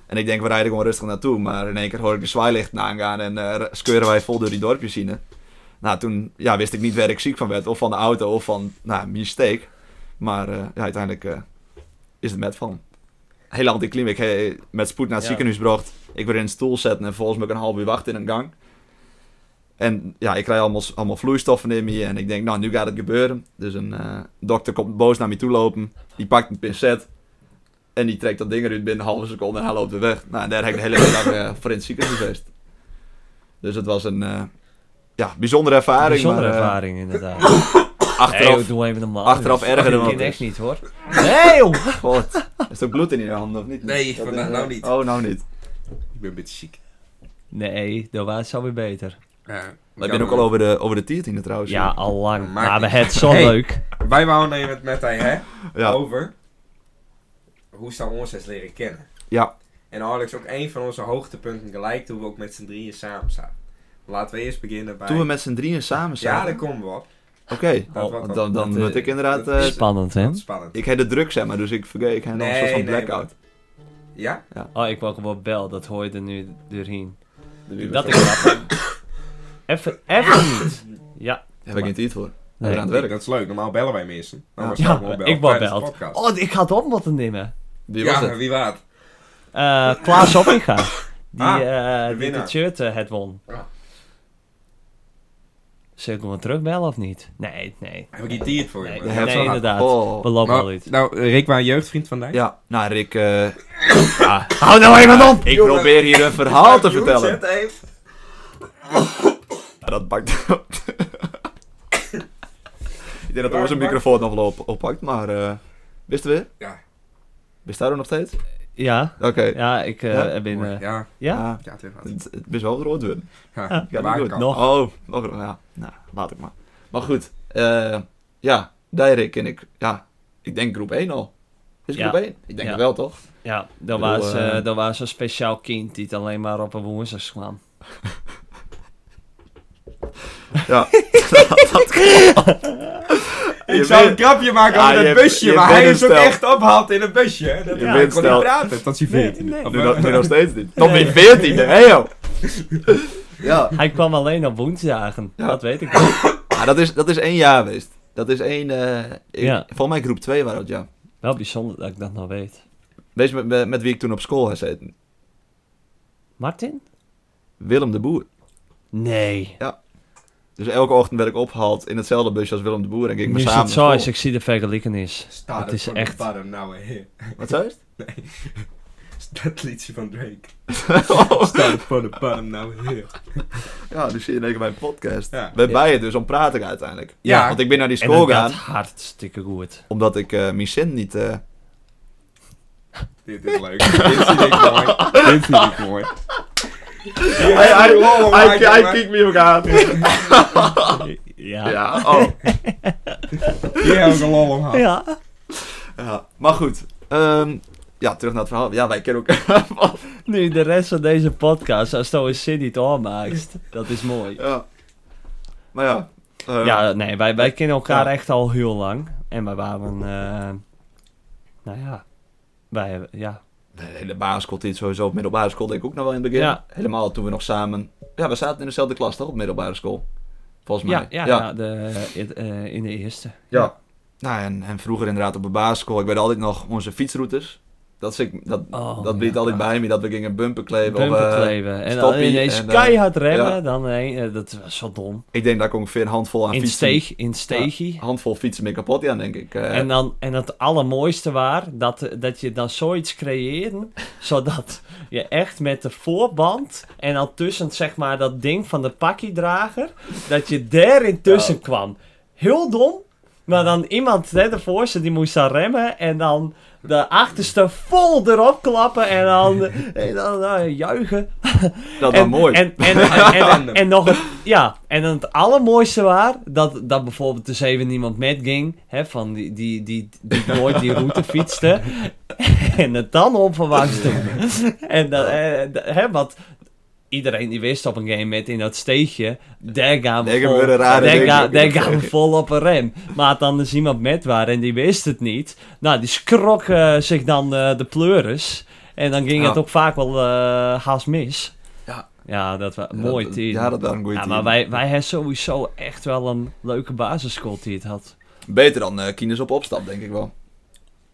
Speaker 3: En ik denk, we rijden gewoon rustig naartoe. Maar in één keer hoor ik de zwaailichten aangaan en eh skeuren wij vol door die dorpjes heen. Nou, toen ja, wist ik niet waar ik ziek van werd. Of van de auto, of van, nou, mistake. Maar eh, ja, uiteindelijk eh, is het met van. heel anticlim. Ik eh, met spoed naar het
Speaker 2: Ja.
Speaker 3: ziekenhuis bracht. Ik werd in een stoel zetten en volgens mij ook een half uur wachten in een gang. En ja, ik krijg allemaal, allemaal vloeistoffen in me en ik denk, nou, nu gaat het gebeuren. Dus een eh, dokter komt boos naar me toe lopen. Die pakt een pincet en die trekt dat ding eruit binnen een halve seconde en hij loopt weer weg. Nou, en daar heb ik de hele middag eh, voor in het ziekenhuis geweest. Dus het was een eh, ja, bijzondere ervaring.
Speaker 2: Bijzondere
Speaker 3: maar, eh,
Speaker 2: ervaring, oh, inderdaad.
Speaker 3: Achteraf,
Speaker 2: Nee, doe even normaal.
Speaker 3: achteraf erger dan
Speaker 2: Ik
Speaker 3: wat
Speaker 2: ken
Speaker 3: is.
Speaker 2: echt niet, hoor. Nee, joh!
Speaker 3: Wat? Is er bloed in je handen of niet?
Speaker 1: Nee,
Speaker 3: Dat
Speaker 1: vandaag
Speaker 3: is-
Speaker 1: nou niet.
Speaker 3: Oh, nou niet.
Speaker 1: Ik ben een beetje ziek.
Speaker 2: Nee, dat was alweer beter.
Speaker 1: Ja,
Speaker 3: Maar ik ben ook al over de, over de tiertiende trouwens.
Speaker 2: Ja, al lang.
Speaker 1: Maakt
Speaker 2: Maar we
Speaker 1: niet.
Speaker 2: hebben het zo
Speaker 1: Hey.
Speaker 2: leuk.
Speaker 1: Wij wouden even het met hij, hè?
Speaker 3: Ja,
Speaker 1: Over hoe ze ons eens leren kennen.
Speaker 3: ja.
Speaker 1: En Alex ook een van onze hoogtepunten gelijk toen we ook met z'n drieën samen zaten. Laten we eerst beginnen bij...
Speaker 3: Toen we met z'n drieën samen
Speaker 1: Ja,
Speaker 3: zaten.
Speaker 1: daar komen we op.
Speaker 3: Oké,
Speaker 1: Dat wordt
Speaker 3: dan, dan
Speaker 2: dat,
Speaker 3: word
Speaker 2: eh,
Speaker 3: ik inderdaad...
Speaker 1: dat
Speaker 3: Oh, eh,
Speaker 1: is-
Speaker 2: Spannend, hè?
Speaker 1: Spannend.
Speaker 3: ik heb de druk, zeg maar, dus ik vergeet. Ik heb nog een
Speaker 1: Nee,
Speaker 3: soort van
Speaker 1: nee,
Speaker 3: blackout.
Speaker 1: Ja?
Speaker 2: Oh, ik wou gewoon bel. Dat hoor je er nu doorheen.
Speaker 3: Daar
Speaker 2: Dat is grappig. Even, even niet. Ja.
Speaker 3: heb ik niet tijd voor.
Speaker 2: Nee.
Speaker 3: We zijn aan het werk.
Speaker 1: Dat is leuk. Normaal bellen wij mensen. Normaal
Speaker 2: Ja,
Speaker 1: zou gewoon bellen
Speaker 2: ik wou
Speaker 1: tijdens de
Speaker 2: belt.
Speaker 1: podcast.
Speaker 2: Oh, ik had op wat te nemen.
Speaker 3: Wie was
Speaker 1: ja,
Speaker 3: het?
Speaker 1: wie waard?
Speaker 2: Eh Klaas Oppinga. Die,
Speaker 1: Ah, de
Speaker 2: eh, die
Speaker 1: winnaar.
Speaker 2: de shirt eh, het won.
Speaker 1: Ja.
Speaker 2: Zul ik hem wel terugbellen of niet? Nee, nee.
Speaker 1: Heb ik die het voor
Speaker 2: Nee,
Speaker 1: je?
Speaker 3: De
Speaker 1: man?
Speaker 2: nee,
Speaker 3: Herzog.
Speaker 2: inderdaad.
Speaker 3: Oh.
Speaker 2: We lopen al
Speaker 1: Nou,
Speaker 2: uit.
Speaker 1: nou, Rick was een jeugdvriend vandaag.
Speaker 3: Ja, nou Rick, eh, ja,
Speaker 2: Hou nou even op!
Speaker 3: ik probeer hier een verhaal te vertellen. Ja, dat pakt. ik denk dat onze microfoon nog wel op, oppakt, maar. eh wist er weer?
Speaker 1: Ja.
Speaker 3: Wist daar ook nog steeds? Oké.
Speaker 2: Ja, ja, ik eh,
Speaker 3: Ja?
Speaker 2: ben... eh,
Speaker 1: Ja,
Speaker 2: ja?
Speaker 3: Ah,
Speaker 1: ja, het is wat.
Speaker 3: het, het is wel rood worden.
Speaker 1: Ja,
Speaker 3: Ja,
Speaker 1: waar
Speaker 3: niet
Speaker 1: kan.
Speaker 3: goed.
Speaker 2: Nog.
Speaker 3: Oh, nog rood, ja. Nou, laat ik maar. Maar goed, eh, ja, Dijrik en ik, ja, ik denk groep 1 al. Is
Speaker 2: Ja.
Speaker 3: groep 1? Ik denk
Speaker 2: Ja.
Speaker 3: het wel, toch?
Speaker 2: Ja, dat
Speaker 3: bedoel,
Speaker 2: was,
Speaker 3: eh,
Speaker 2: eh, dat was een speciaal kind die het alleen maar op een woensdag kwam.
Speaker 3: Ja.
Speaker 1: Ik zou een grapje maken
Speaker 3: Ja,
Speaker 1: over dat
Speaker 3: je hebt-
Speaker 1: busje,
Speaker 3: je
Speaker 1: maar
Speaker 3: bent
Speaker 1: hij
Speaker 3: een
Speaker 1: is ook
Speaker 3: stel.
Speaker 1: echt ophaald in een busje. hè. Dat
Speaker 3: Je
Speaker 1: ja,
Speaker 3: bent
Speaker 1: ik kon niet
Speaker 3: stel.
Speaker 1: praten tot hij 14
Speaker 2: nee.
Speaker 1: Of,
Speaker 3: Nu,
Speaker 1: eh,
Speaker 3: nog- nu nog steeds niet. Nog niet 14, hè joh! Ja,
Speaker 2: Hij kwam alleen op woensdagen,
Speaker 3: Ja.
Speaker 2: dat weet ik wel.
Speaker 3: Ah, dat, is, dat is één jaar geweest. Dat is één... eh, ik-
Speaker 2: Ja.
Speaker 3: Volgens mij groep 2 waren dat, ja.
Speaker 2: Wel bijzonder dat ik dat nog weet.
Speaker 3: Wees met, met, met wie ik toen op school had gezeten.
Speaker 2: Martin?
Speaker 3: Willem de Boer.
Speaker 2: Nee.
Speaker 3: Dus elke ochtend werd ik opgehaald in hetzelfde busje als Willem de Boer. En ging ik
Speaker 2: Nu
Speaker 3: maar
Speaker 2: is
Speaker 3: samen
Speaker 2: het zo,
Speaker 3: naar
Speaker 2: als
Speaker 3: school.
Speaker 2: ik zie de vergelijkenis.
Speaker 1: Staat
Speaker 2: Het is
Speaker 1: voor
Speaker 2: echt-
Speaker 1: de barren nou hè.
Speaker 3: Wat zei je?
Speaker 1: Dat liedje van Drake.
Speaker 3: Oh.
Speaker 1: Staat het voor de barren nou hè.
Speaker 3: Ja, nu zie je in één keer mijn podcast.
Speaker 1: Ja.
Speaker 3: We bij je dus om praat ik uiteindelijk.
Speaker 1: Ja.
Speaker 3: Want ik ben naar die
Speaker 2: En
Speaker 3: school
Speaker 2: dat gaat
Speaker 3: gegaan,
Speaker 2: hartstikke goed.
Speaker 3: omdat ik eh mijn zin niet... eh,
Speaker 1: Dit is leuk. Dit vind ik mooi. Dit vind ik mooi.
Speaker 3: Hij- hij-
Speaker 1: Wow,
Speaker 3: hij-
Speaker 1: maak je
Speaker 3: Hij
Speaker 1: maar.
Speaker 3: kijkt me ook aan.
Speaker 2: Ja. Ja.
Speaker 3: Ja, oh.
Speaker 1: Hier heb ik een lol om gehad.
Speaker 2: ja.
Speaker 3: Ja, maar goed. Ehm, ja, terug naar het verhaal. Ja, wij kennen elkaar.
Speaker 2: Nu de rest van deze podcast, als je een zin niet aanmaakt, dat is mooi.
Speaker 3: ja. Maar ja. eh,
Speaker 2: Ja, nee, wij, wij kennen elkaar
Speaker 3: Ja.
Speaker 2: echt al heel lang. En wij waren, eh, nou ja, wij hebben, ja.
Speaker 3: De hele basisschool dit sowieso. Op middelbare school denk ik ook nog wel in het begin.
Speaker 2: Ja.
Speaker 3: Helemaal toen we nog samen... Ja, we zaten in dezelfde klas toch op middelbare school? Volgens
Speaker 2: Ja,
Speaker 3: mij.
Speaker 2: ja, ja, de, eh, eh, in de eerste.
Speaker 3: Ja. Nou, en, en vroeger inderdaad op de basisschool. Ik weet altijd nog onze fietsroutes. Dat, zit dat,
Speaker 2: Oh,
Speaker 3: dat bleef
Speaker 2: ja.
Speaker 3: altijd bij me. Dat we gingen bumper kleven. of,
Speaker 2: Bumper
Speaker 3: eh,
Speaker 2: kleven. En dan
Speaker 3: stoppie
Speaker 2: ineens
Speaker 3: en, eh,
Speaker 2: keihard remmen,
Speaker 3: ja.
Speaker 2: dan nee, eh, dat was zo dom.
Speaker 3: ik denk dat ik ongeveer een handvol aan
Speaker 2: In
Speaker 3: fietsen...
Speaker 2: steeg, in steegie.
Speaker 3: handvol fietsen mee kapot aan, denk ik. Eh,
Speaker 2: En, dan, en het allermooiste waar, dat, dat je dan zoiets creëerde, zodat je echt met de voorband en dan tussen zeg maar dat ding van de pakkiedrager, dat je daar intussen kwam. Heel dom, maar dan iemand, hè, de voorste, die moest dan remmen en dan de achterste vol erop klappen en dan, en dan eh, juichen.
Speaker 3: dat was
Speaker 2: En,
Speaker 3: mooi.
Speaker 2: En, en, en, en, en nog het, ja, en dan het allermooiste waar, dat, dat bijvoorbeeld dus even niemand met ging, hè, van die, die, die, die nooit die route fietste, en het dan onverwachts doen. En dat, eh, d- hè, want iedereen die wist op een game met in dat steegje, daar gaan we
Speaker 3: Daar
Speaker 2: vol,
Speaker 3: gebeuren rare
Speaker 2: daar
Speaker 3: dingen
Speaker 2: ga-
Speaker 3: in dat
Speaker 2: daar gaan we
Speaker 3: steegje.
Speaker 2: vol op een rem. Maar dan is iemand met waar en die wist het niet, nou, die skrok eh, zich dan eh, de pleuris. En dan ging
Speaker 3: Ja.
Speaker 2: het ook vaak wel eh, haast mis.
Speaker 3: Ja.
Speaker 2: Ja, dat was
Speaker 3: Ja,
Speaker 2: mooi
Speaker 3: dat-
Speaker 2: team.
Speaker 3: Ja, dat waren een goede
Speaker 2: Ja,
Speaker 3: team.
Speaker 2: maar wij, wij hebben sowieso echt wel een leuke basisschool die het had.
Speaker 3: Beter dan eh Kines op opstap, denk ik wel.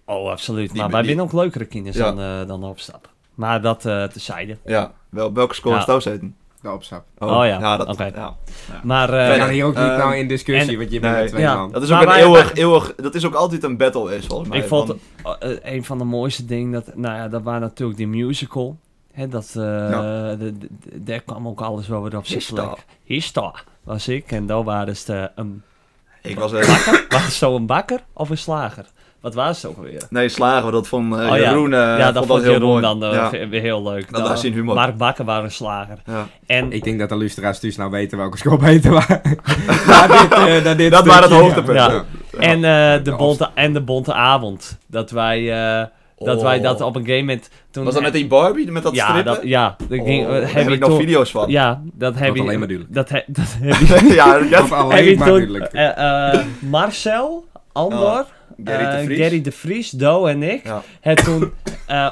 Speaker 2: Oh, absoluut.
Speaker 3: Die-
Speaker 2: maar wij
Speaker 3: die-
Speaker 2: winnen ook leukere kinders
Speaker 3: Ja.
Speaker 2: dan, eh, dan de opstap. Maar dat eh tezijde.
Speaker 3: Ja, wel, welke score
Speaker 2: Ja.
Speaker 3: is Toos heten?
Speaker 1: De opstap.
Speaker 2: Oh ja,
Speaker 3: dat,
Speaker 2: oké.
Speaker 3: ja.
Speaker 2: Maar eh,
Speaker 1: We
Speaker 3: Verder.
Speaker 1: gaan hier ook niet
Speaker 3: eh,
Speaker 1: nou in discussie,
Speaker 2: en-
Speaker 1: want je
Speaker 3: Nee.
Speaker 1: bent met twee
Speaker 2: Ja.
Speaker 1: man.
Speaker 3: dat is
Speaker 2: Maar
Speaker 3: ook een
Speaker 2: wij-
Speaker 3: eeuwig, eeuwig, dat is ook altijd een battle is volgens mij.
Speaker 2: ik vond
Speaker 3: want-
Speaker 2: eh, eh, een van de mooiste dingen, dat, nou ja, dat waren natuurlijk die musical. Hè, dat, eh, de- de- de- daar kwam ook alles wel weer op zijn
Speaker 3: Hista.
Speaker 2: plek. Hista was ik en daar waren ze eh, een,
Speaker 3: ik was eh,
Speaker 2: was het zo een bakker of een slager? Wat was het ook alweer?
Speaker 3: Nee, slagen we dat van eh,
Speaker 2: Oh ja.
Speaker 3: Jeroen. eh,
Speaker 2: ja, dat vond
Speaker 3: heel
Speaker 2: Jeroen
Speaker 3: mooi.
Speaker 2: dan eh,
Speaker 3: ja.
Speaker 2: weer heel leuk.
Speaker 3: Dat
Speaker 2: Nou,
Speaker 3: was zijn humor.
Speaker 2: Mark Bakker was een slager.
Speaker 3: Ja.
Speaker 2: En
Speaker 1: Ik denk dat de luisteraars dus nou weten welke score beter waren. Na dit, eh, na dit
Speaker 3: Dat waren het
Speaker 1: stukje.
Speaker 3: hoogtepunt.
Speaker 2: Ja.
Speaker 1: Ja.
Speaker 2: En, eh, de
Speaker 1: Ja,
Speaker 2: bonte, en de bonte avond. Dat wij, eh, dat,
Speaker 3: Oh.
Speaker 2: wij dat op een gegeven moment... Toen
Speaker 3: Was dat met die Barbie, met dat
Speaker 2: eh, ja,
Speaker 3: strippen?
Speaker 2: dat, ja, dat
Speaker 3: Oh,
Speaker 2: ging, eh,
Speaker 3: daar
Speaker 2: heb
Speaker 3: heb
Speaker 2: je
Speaker 3: ik nog
Speaker 2: toen-
Speaker 3: video's van.
Speaker 2: Ja, dat heb
Speaker 1: Wordt
Speaker 2: je...
Speaker 1: alleen maar duurlijk.
Speaker 2: Dat, he, dat heb je...
Speaker 3: ja, ja.
Speaker 1: Of
Speaker 2: heb je
Speaker 1: alleen maar
Speaker 2: toen,
Speaker 1: duidelijk.
Speaker 2: eh, eh, Marcel, Andor,
Speaker 3: Gary Oh, de
Speaker 2: eh,
Speaker 3: Vries.
Speaker 2: Gary de Vries, Do en ik.
Speaker 3: Ja.
Speaker 2: Het toen... eh,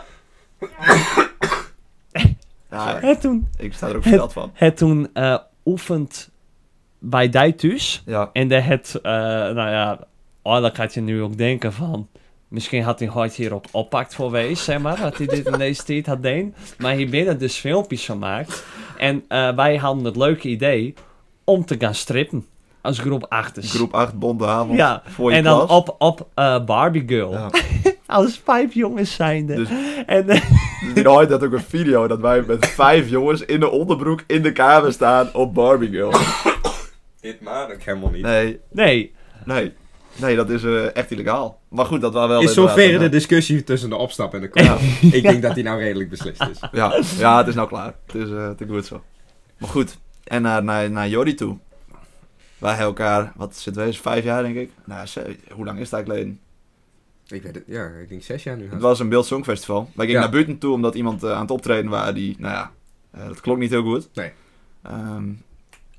Speaker 3: Ja,
Speaker 2: het toen,
Speaker 3: ik sta er ook versteld van.
Speaker 2: het toen eh, oefend bij Dijtus.
Speaker 3: Ja,
Speaker 2: En dat het, eh, nou ja, oh, dan gaat je nu ook denken van. Misschien had hij hard hierop oppakt voor wees, zeg maar. Dat hij dit in deze tijd had deen. Maar hier binnen dus filmpjes van maakt. En eh, wij hadden het leuke idee om te gaan strippen. Als groep achters.
Speaker 3: groep 8, bonte avond.
Speaker 2: ja.
Speaker 3: voor je
Speaker 2: En dan
Speaker 3: klas.
Speaker 2: op, op eh, Barbie Girl.
Speaker 3: Ja.
Speaker 2: Als vijf jongens zijnde.
Speaker 3: Dus-
Speaker 2: En eh,
Speaker 3: Dus die hoort dat ook een video dat wij met vijf jongens in de onderbroek in de kamer staan op Barbie Girl.
Speaker 1: Dit maar ik helemaal niet.
Speaker 3: Nee,
Speaker 2: nee.
Speaker 3: nee. Nee, dat is eh, echt illegaal. Maar goed, dat was wel...
Speaker 1: Is
Speaker 3: inderdaad eh,
Speaker 1: zover de
Speaker 3: een-
Speaker 1: discussie tussen de opstap en de kop. Ik denk dat die nou redelijk beslist is.
Speaker 3: Ja, ja, het is nou klaar. Het is eh, te goed zo. Maar goed, en naar, naar, naar Jordi toe. Wij hebben elkaar, wat zitten wij, eens vijf jaar denk ik? Nou, ze- hoe lang is dat geleden?
Speaker 1: Ik weet het, ja, ik denk zes jaar nu.
Speaker 3: Het was een Beeld Songfestival. Wij gingen
Speaker 1: Ja.
Speaker 3: naar buiten toe omdat iemand eh, aan het optreden was die, nou ja, eh, dat klonk niet heel goed.
Speaker 1: Nee.
Speaker 3: Ehm,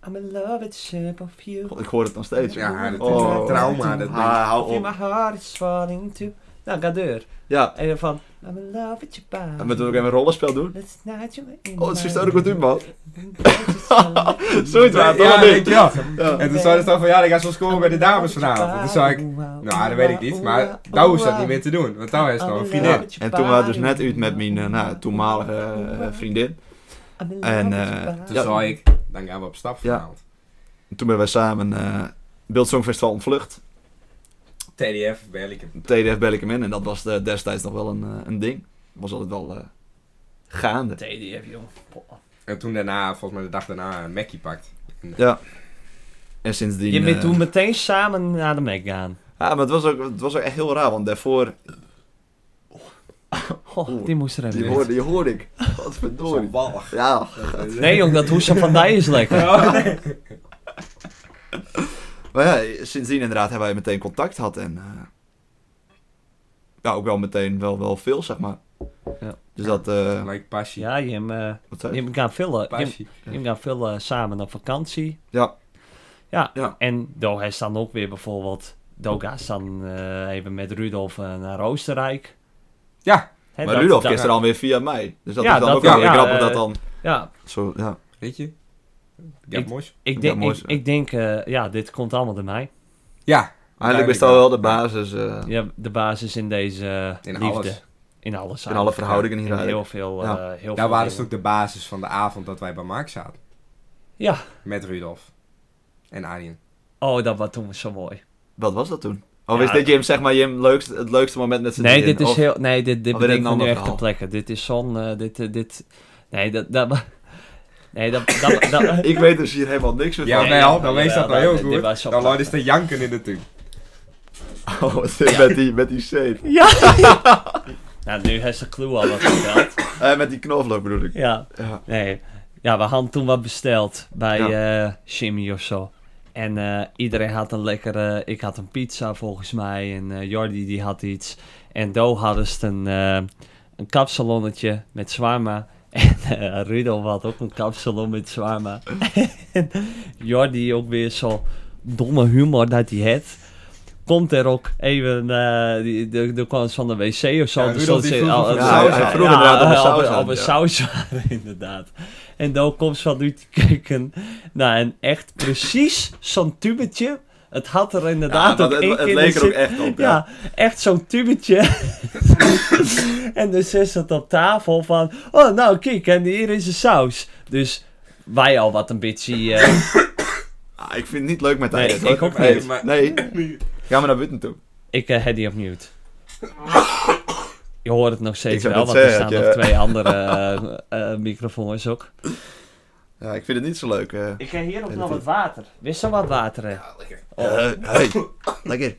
Speaker 2: I'm in love with the shape of you.
Speaker 3: god, ik hoor het nog steeds.
Speaker 1: Ja, dat is
Speaker 3: Oh.
Speaker 1: een trauma. Dat ding.
Speaker 3: Ah, hou
Speaker 2: If my
Speaker 3: op.
Speaker 2: heart is falling to... Nou, ga deur.
Speaker 3: Ja,
Speaker 2: En dan van... I'm in love with your body.
Speaker 3: en moeten we ook even een rollenspel doen?
Speaker 2: Let's not you in
Speaker 3: Oh, het is
Speaker 2: my
Speaker 3: juist ook goed
Speaker 2: room.
Speaker 3: doen, man.
Speaker 2: Zoiets
Speaker 3: Zoiets
Speaker 1: Ja,
Speaker 3: waar,
Speaker 1: ja,
Speaker 3: toch?
Speaker 1: weet je wel.
Speaker 3: Ja.
Speaker 1: En toen zei ze dan van ja, ik ga zo scoren bij de dames vanavond. En toen zei ik, nou dat weet ik niet, maar nou is dat niet meer te doen. Want nou is het nog een
Speaker 3: Ja,
Speaker 1: vriendin.
Speaker 3: En toen waren we dus net uit met mijn eh, nou, toenmalige eh, vriendin. En, eh,
Speaker 1: Toen
Speaker 3: Ja.
Speaker 1: zei ik, dan gaan we op stap vanavond.
Speaker 3: En toen ben wij samen eh Beeld Songfestival ontvlucht.
Speaker 1: TDF, Berlikum.
Speaker 3: TDF bel ik hem in en dat was eh, destijds nog wel een, eh, een ding. Was altijd wel eh, gaande.
Speaker 2: TDF, joh.
Speaker 1: En toen daarna, volgens mij de dag daarna, een Mackie pakt.
Speaker 3: En sindsdien...
Speaker 2: Je bent
Speaker 3: eh,
Speaker 2: toen meteen samen naar de Mac gaan.
Speaker 3: Ja, maar het was, ook, het was ook echt heel raar, want daarvoor...
Speaker 2: Goh, die moest er
Speaker 3: Die
Speaker 2: even
Speaker 3: hoorde,
Speaker 2: uit.
Speaker 3: die hoorde ik. Wat verdorie.
Speaker 1: wallig.
Speaker 3: Ja.
Speaker 2: Nee, jong, dat hoesje van Dij is lekker.
Speaker 3: Maar ja, sindsdien inderdaad hebben wij meteen contact gehad en... eh, ja, ook wel meteen wel, wel veel, zeg maar.
Speaker 2: Ja.
Speaker 3: Dus dat... eh
Speaker 1: Like passie.
Speaker 2: Ja, Jim, eh,
Speaker 3: wat zei je?
Speaker 2: Jim gaat veel, eh, Jim,
Speaker 1: Passie.
Speaker 2: Jim gaat veel eh, samen op vakantie.
Speaker 3: Ja.
Speaker 2: Ja,
Speaker 3: Ja.
Speaker 2: en Do hij dan ook weer bijvoorbeeld... Do gaat dan eh, even met Rudolf eh, naar Oostenrijk.
Speaker 1: Ja.
Speaker 2: Hè,
Speaker 3: Maar
Speaker 2: dat-
Speaker 3: Rudolf
Speaker 2: dat-
Speaker 3: is er dan weer via mij. Dus dat
Speaker 2: Ja,
Speaker 3: is dan
Speaker 2: dat-
Speaker 3: ook wel
Speaker 2: ja,
Speaker 3: weer grappig
Speaker 2: eh,
Speaker 3: dat dan...
Speaker 2: Ja,
Speaker 3: Zo, ja.
Speaker 1: Weet je? Ja,
Speaker 2: Ik-
Speaker 1: mos.
Speaker 2: Ik
Speaker 3: Ja,
Speaker 2: denk,
Speaker 3: mooi
Speaker 2: ik,
Speaker 3: zo.
Speaker 2: ik denk eh, ja, dit komt allemaal door mij.
Speaker 1: Ja.
Speaker 3: Eigenlijk is dat wel de basis eh,
Speaker 2: Ja, de basis in deze eh,
Speaker 1: In
Speaker 2: liefde.
Speaker 1: alles.
Speaker 2: In alles.
Speaker 3: in alle
Speaker 2: eigenlijk.
Speaker 3: verhoudingen hier
Speaker 2: In heel
Speaker 3: eigenlijk.
Speaker 2: veel. eh,
Speaker 3: Ja.
Speaker 2: heel
Speaker 1: Daar
Speaker 2: veel
Speaker 1: waren ze
Speaker 2: dingen.
Speaker 1: ook de basis van de avond dat wij bij Mark zaten.
Speaker 2: Ja.
Speaker 1: Met Rudolf. En Arjen.
Speaker 2: Oh, dat was toen zo mooi.
Speaker 3: Wat was dat toen? Of
Speaker 2: Ja,
Speaker 3: is dit Jim zeg maar Jim leukst, het leukste moment met z'n
Speaker 2: Nee,
Speaker 3: drieën?
Speaker 2: dit is
Speaker 3: Of-
Speaker 2: heel. Nee, dit, dit
Speaker 3: of
Speaker 2: ben
Speaker 3: weer
Speaker 2: ik
Speaker 3: een
Speaker 2: nu
Speaker 3: ander
Speaker 2: echt ter
Speaker 3: verhaal.
Speaker 2: plekke. Dit is zo'n. eh, dit, eh, dit. Nee, dat. dat nee, dat. dat, dat
Speaker 3: Ik weet dus hier helemaal niks meer
Speaker 1: Ja,
Speaker 2: nee,
Speaker 1: wel,
Speaker 2: ja,
Speaker 1: dan wees dat
Speaker 2: jawel,
Speaker 1: nou heel
Speaker 2: dat- dit
Speaker 1: goed.
Speaker 2: was zo
Speaker 1: Dan
Speaker 2: prachtig.
Speaker 1: Lloyd is te janken in de tuin.
Speaker 3: van. Oh, wat zit met die, met die zeep.
Speaker 2: nou, nu heeft ze clue al wat verteld.
Speaker 3: Eh, met die knoflook bedoel ik.
Speaker 2: ja.
Speaker 3: Ja.
Speaker 2: Nee. Ja, we hadden toen wat besteld bij eh
Speaker 3: Ja.
Speaker 2: Jimmy of zo. En eh, iedereen had een lekkere... Ik had een pizza volgens mij. En eh, Jordi die had iets. En Do hadden ze een, eh, een kapsalonnetje met zwarma. En eh Rudolf had ook een kapsalon met zwarma. en Jordi ook weer zo domme humor dat hij had. Komt er ook even... eh die, de, de kwam eens van de wc of zo.
Speaker 1: Ja,
Speaker 2: Er
Speaker 1: Rudolf
Speaker 2: stond
Speaker 1: die
Speaker 2: ze-
Speaker 1: vroeg of
Speaker 2: al-
Speaker 1: we
Speaker 2: al-
Speaker 1: saus
Speaker 2: ja,
Speaker 1: hadden.
Speaker 3: Vroeg inderdaad of
Speaker 2: al-
Speaker 3: we saus
Speaker 2: al- al-
Speaker 3: hadden,
Speaker 2: we
Speaker 3: ja.
Speaker 2: saus waren, inderdaad. En dan komt ze van nu te kijken naar een echt precies zo'n tubetje Het had er inderdaad
Speaker 3: want
Speaker 2: ook
Speaker 3: het,
Speaker 2: één
Speaker 3: het
Speaker 2: keer
Speaker 3: leek er ook
Speaker 2: zit-
Speaker 3: echt op. Ja.
Speaker 2: Ja, echt zo'n tubetje. en dus is het op tafel van... Oh, nou kijk, en hier is de saus. Dus wij al wat een beetje... eh,
Speaker 3: Ah, ik vind het niet leuk met
Speaker 2: Nee,
Speaker 3: eieren.
Speaker 2: ik
Speaker 3: hoor.
Speaker 2: ook
Speaker 3: Nee,
Speaker 1: niet. Maar-
Speaker 3: Nee, ga maar naar buiten toe.
Speaker 2: ik eh, had die op mute. Je hoort het nog
Speaker 3: Ik
Speaker 2: steeds
Speaker 3: zou
Speaker 2: wel,
Speaker 3: net
Speaker 2: want er
Speaker 3: zeggen,
Speaker 2: staan
Speaker 3: dat
Speaker 2: nog
Speaker 3: je-
Speaker 2: twee andere eh, eh, microfoons ook.
Speaker 3: Ja, ik vind het niet zo leuk. eh.
Speaker 2: Ik ga hier ook
Speaker 3: nog wat
Speaker 2: water. Wist al wat water, hè? Oh.
Speaker 3: Eh, hey, lekker.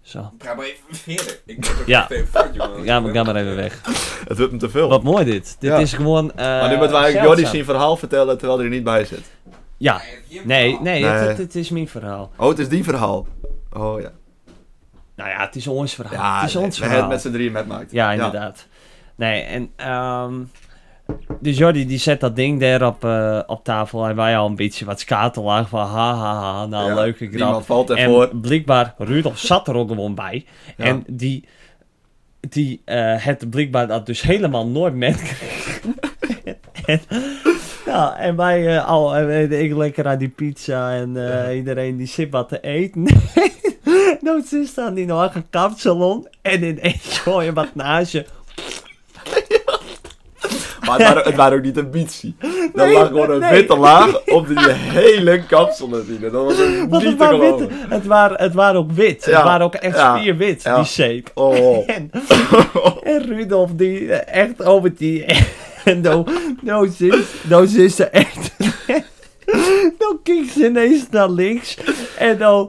Speaker 2: Zo.
Speaker 1: Ga maar even verder. Ik heb ook
Speaker 2: Ja.
Speaker 1: even fout, jongen.
Speaker 2: Ja, maar ga maar even weg.
Speaker 3: Het wordt hem te veel.
Speaker 2: Wat mooi dit. Dit
Speaker 3: Ja.
Speaker 2: is gewoon... eh,
Speaker 3: maar nu moeten we eigenlijk
Speaker 2: zeldzaam.
Speaker 3: Jordi zijn verhaal vertellen terwijl hij er niet bij zit.
Speaker 2: Ja. Nee, nee,
Speaker 3: Nee.
Speaker 2: Het, het- het is mijn verhaal.
Speaker 3: Oh, het is die verhaal. Oh ja.
Speaker 2: Nou ja, het is ons verhaal.
Speaker 3: Ja,
Speaker 2: het is ons
Speaker 3: we hebben
Speaker 2: verhaal.
Speaker 3: het met z'n drieën met maakt.
Speaker 2: Ja, inderdaad. Nee, en... ehm dus Jordi die zet dat ding daar op, eh, op tafel en wij al een beetje wat skatelaar van ha ha ha, nou leuke grap.
Speaker 3: Niemand valt ervoor.
Speaker 2: En blijkbaar, Rudolf zat er ook gewoon bij. En die, die eh, het blijkbaar dat dus helemaal nooit met kreeg. en, ja, en wij eh, al, en weet ik lekker aan die pizza en eh, iedereen die zit wat te eten. Nou, ze staan in haar kapsalon en ineens gooi je wat naast je.
Speaker 3: Maar het waren, het waren ook niet ambitie. Er
Speaker 2: Nee,
Speaker 3: lag gewoon een
Speaker 2: nee.
Speaker 3: witte laag op die hele kapsel natuurlijk. Dat was een
Speaker 2: Want
Speaker 3: niet
Speaker 2: het
Speaker 3: te
Speaker 2: waren,
Speaker 3: geloven.
Speaker 2: wit, het, waren, het waren ook wit.
Speaker 3: Ja,
Speaker 2: Het waren ook echt
Speaker 3: ja,
Speaker 2: spierwit,
Speaker 3: ja.
Speaker 2: die zeep.
Speaker 3: Oh,
Speaker 2: En, en Rudolf, die eh, echt over die. En nou, nou zit, nou zit ze echt. Nou kijkt ze ineens naar links. En nou.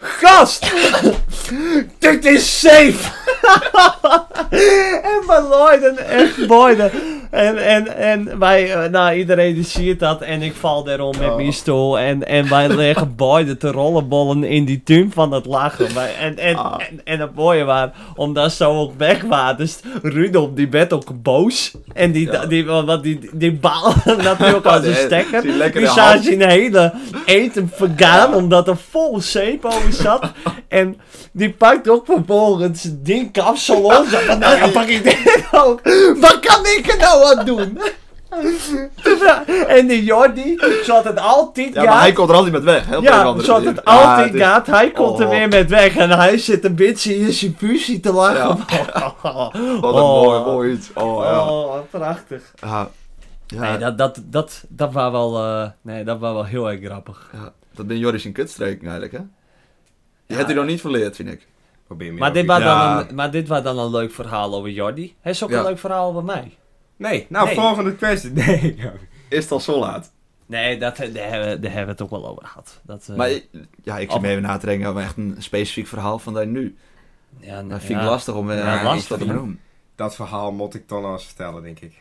Speaker 2: Gast! Dit is safe! en mijn Lloyden, echt Lloyden. En, en, en wij, eh, nou iedereen die ziet dat en ik val daarom met
Speaker 3: Oh.
Speaker 2: mijn stoel en, en wij leggen beide te rollenbollen in die tuin van het lachen. Wij- en, en,
Speaker 3: Ah.
Speaker 2: en, en het mooie was, omdat ze ook weg waren, dus Rudolf die werd ook boos. En die,
Speaker 3: Ja.
Speaker 2: die, want die, die baalde natuurlijk aan zijn
Speaker 3: Die-
Speaker 2: stekker.
Speaker 3: die lekkere
Speaker 2: Die zag
Speaker 3: hand.
Speaker 2: zijn hele eten vergaan, omdat er vol zeep over zat. en die pakt ook vervolgens die kapsel los. En nou, dan pak ik dit ook. Wat kan ik er nou aan doen? en die Jordi, zoals het altijd
Speaker 3: ja, maar
Speaker 2: gaat.
Speaker 3: hij komt er altijd met weg. Hè, op een of
Speaker 2: Ja,
Speaker 3: andere
Speaker 2: zoals
Speaker 3: manier.
Speaker 2: het
Speaker 3: Ja,
Speaker 2: altijd
Speaker 3: is-
Speaker 2: gaat. Hij komt er
Speaker 3: Oh.
Speaker 2: weer met weg. En hij zit een beetje in zijn puzie te lachen.
Speaker 3: Wat een
Speaker 2: Oh.
Speaker 3: mooi, mooi iets. Oh, ja.
Speaker 2: Oh, prachtig.
Speaker 3: Ja, ja
Speaker 2: Nee,
Speaker 3: dat...
Speaker 2: dat, dat, dat, dat was wel, eh, nee, dat was wel heel erg grappig.
Speaker 3: ben Joris in kutstreken eigenlijk, hè? Je hebt hij nog niet verleerd, vind ik.
Speaker 1: Probeer meer
Speaker 2: Maar
Speaker 1: op
Speaker 2: dit,
Speaker 1: die-
Speaker 2: was
Speaker 3: Ja.
Speaker 2: dan een, maar dit was dan een leuk verhaal over Jordi. Hij is ook
Speaker 3: Ja.
Speaker 2: een leuk verhaal over mij.
Speaker 1: Nee, nou,
Speaker 2: Nee.
Speaker 1: volgende kwestie. Nee.
Speaker 3: Is het al zo laat?
Speaker 2: Nee, dat, daar, hebben, we- daar hebben we het ook wel over gehad. Dat, eh,
Speaker 3: Maar ik- ja, ik zit
Speaker 2: Af-
Speaker 3: me even na te denken over echt een specifiek verhaal van daar nu.
Speaker 2: ja,
Speaker 3: Dat
Speaker 2: nou,
Speaker 3: vind ik
Speaker 2: ja.
Speaker 3: lastig om eh,
Speaker 2: Ja,
Speaker 3: iets
Speaker 2: lastig,
Speaker 3: te
Speaker 2: hè?
Speaker 3: benoemen.
Speaker 1: Dat verhaal moet ik dan al eens vertellen, denk ik.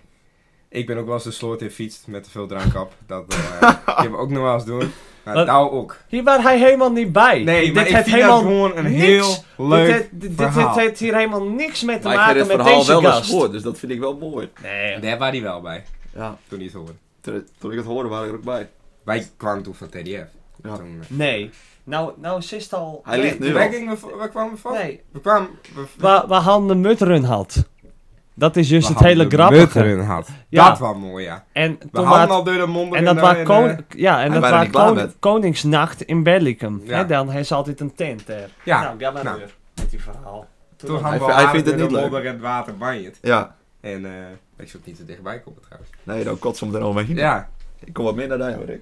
Speaker 1: Ik ben ook wel eens de sloot in fietst met te veel drank op. Dat eh ik heb ook nog wel eens doen. Nou,
Speaker 2: Wat?
Speaker 1: nou ook.
Speaker 2: Hier was hij helemaal niet bij.
Speaker 1: Nee, maar
Speaker 2: dit
Speaker 1: ik
Speaker 2: heeft
Speaker 1: vind
Speaker 2: helemaal
Speaker 1: dat gewoon een
Speaker 2: niks-
Speaker 1: heel leuk
Speaker 2: dit, heeft- dit, dit
Speaker 1: verhaal.
Speaker 2: heeft hier helemaal niks mee te
Speaker 3: Maar ik heb
Speaker 2: maken
Speaker 3: het
Speaker 2: met
Speaker 3: verhaal
Speaker 2: deze
Speaker 3: wel eens
Speaker 2: gast.
Speaker 3: gehoord, dus dat vind ik wel mooi.
Speaker 2: nee,
Speaker 1: Daar waren die wel bij,
Speaker 3: Ja,
Speaker 1: toen niet horen.
Speaker 3: toen toen ik het hoorde, waren we er ook bij.
Speaker 1: Wij kwamen toen van TDF.
Speaker 3: Ja.
Speaker 1: Toen, eh,
Speaker 2: nee. Nou, nou is het al...
Speaker 3: Hij
Speaker 2: nee.
Speaker 3: ligt nu
Speaker 1: wij
Speaker 3: al.
Speaker 1: gingen, we, we kwamen van.
Speaker 2: Nee,
Speaker 1: We kwamen. We,
Speaker 2: waar, waar Han de mutrun had. Dat is dus
Speaker 1: we
Speaker 2: het hele
Speaker 1: hadden
Speaker 2: grappige.
Speaker 1: mutteren had.
Speaker 2: Ja.
Speaker 1: Dat was mooi, ja.
Speaker 2: En
Speaker 1: We
Speaker 2: toen
Speaker 1: hadden
Speaker 2: wa-
Speaker 1: al door de mond.
Speaker 2: En dat was
Speaker 1: nou
Speaker 2: koning, ja, en
Speaker 3: wij
Speaker 2: dat
Speaker 3: waren
Speaker 2: was
Speaker 3: niet klaar
Speaker 2: koning-
Speaker 3: met.
Speaker 2: Koningsnacht in Bellicum.
Speaker 1: Ja.
Speaker 2: Hè, dan heeft ze altijd een tent daar.
Speaker 1: Ja,
Speaker 2: Nou, ga maar
Speaker 1: nou.
Speaker 2: door met die verhaal.
Speaker 1: Toen
Speaker 2: Toen dan-
Speaker 1: hadden we
Speaker 3: hij
Speaker 1: al
Speaker 3: vindt het
Speaker 1: door de
Speaker 3: niet leuk.
Speaker 1: modder en het water banjet.
Speaker 3: Ja,
Speaker 1: En eh, ik zat niet te dichtbij komen trouwens.
Speaker 3: nee, dan kotsen we er nou omheen.
Speaker 1: Ja,
Speaker 3: Ik kom wat meer naar daar, hoor ik.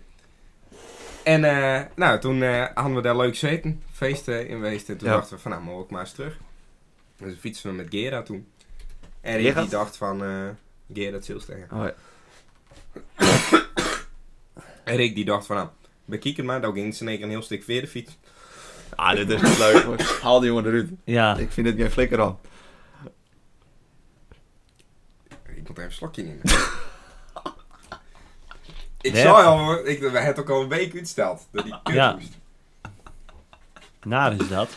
Speaker 1: En eh, nou, toen eh, hadden we daar leuk zeten, feesten in geweest. En toen
Speaker 3: Ja.
Speaker 1: dachten we van, nou, mogen we ook maar eens terug. Dus fietsen we met Gera toen. En die,
Speaker 3: Gerard?
Speaker 1: dacht van, eh Gera Zielstenger.
Speaker 3: Oh, ja.
Speaker 1: En Rick die dacht van, nou, bekijk het maar. Dan ging ze in één keer een heel stuk verder fiets.
Speaker 3: Ah, dit is niet leuk, hoor. Haal die jongen eruit.
Speaker 2: Ja,
Speaker 3: Ik vind dit geen flikker aan.
Speaker 1: Ik moet even een slokje nemen. ik
Speaker 2: Ja.
Speaker 1: zou al, ik, we hebben het ook al een week uitgesteld. Dat die kut
Speaker 2: Ja.
Speaker 1: moest.
Speaker 2: naar is dat.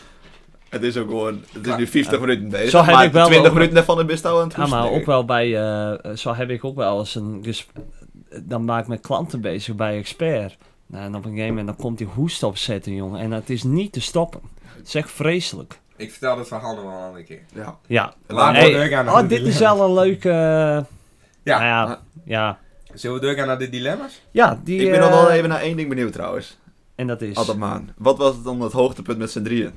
Speaker 3: Het is ook gewoon, het is nu 50 minuten bezig.
Speaker 2: Zo heb
Speaker 3: maar
Speaker 2: ik wel
Speaker 3: 20
Speaker 2: ook-
Speaker 3: minuten daarvan de best aan het
Speaker 2: Ja, maar
Speaker 3: hoesten,
Speaker 2: ook
Speaker 3: denk ik.
Speaker 2: wel bij, eh, zo heb ik ook wel eens een gesp- dan maak ik met klanten bezig bij expert. Nou, en op een gegeven moment dan komt die hoest opzetten, jongen. En het is niet te stoppen. Het is echt vreselijk.
Speaker 1: Ik vertel dat verhaal nog wel een andere keer.
Speaker 3: Ja.
Speaker 2: Ja.
Speaker 1: Laten we
Speaker 2: Hey,
Speaker 1: doorgaan naar
Speaker 2: oh,
Speaker 1: de
Speaker 2: dit is
Speaker 1: dilemma's.
Speaker 2: wel een leuke...
Speaker 1: Ja.
Speaker 2: ja. ja, ja.
Speaker 1: Zullen we doorgaan naar de dilemma's?
Speaker 2: Ja, die...
Speaker 3: Ik ben nog wel Oh,
Speaker 2: eh,
Speaker 3: even naar één ding benieuwd trouwens.
Speaker 2: En dat is...
Speaker 3: Adam Maan. Wat was het dan het hoogtepunt met z'n drieën?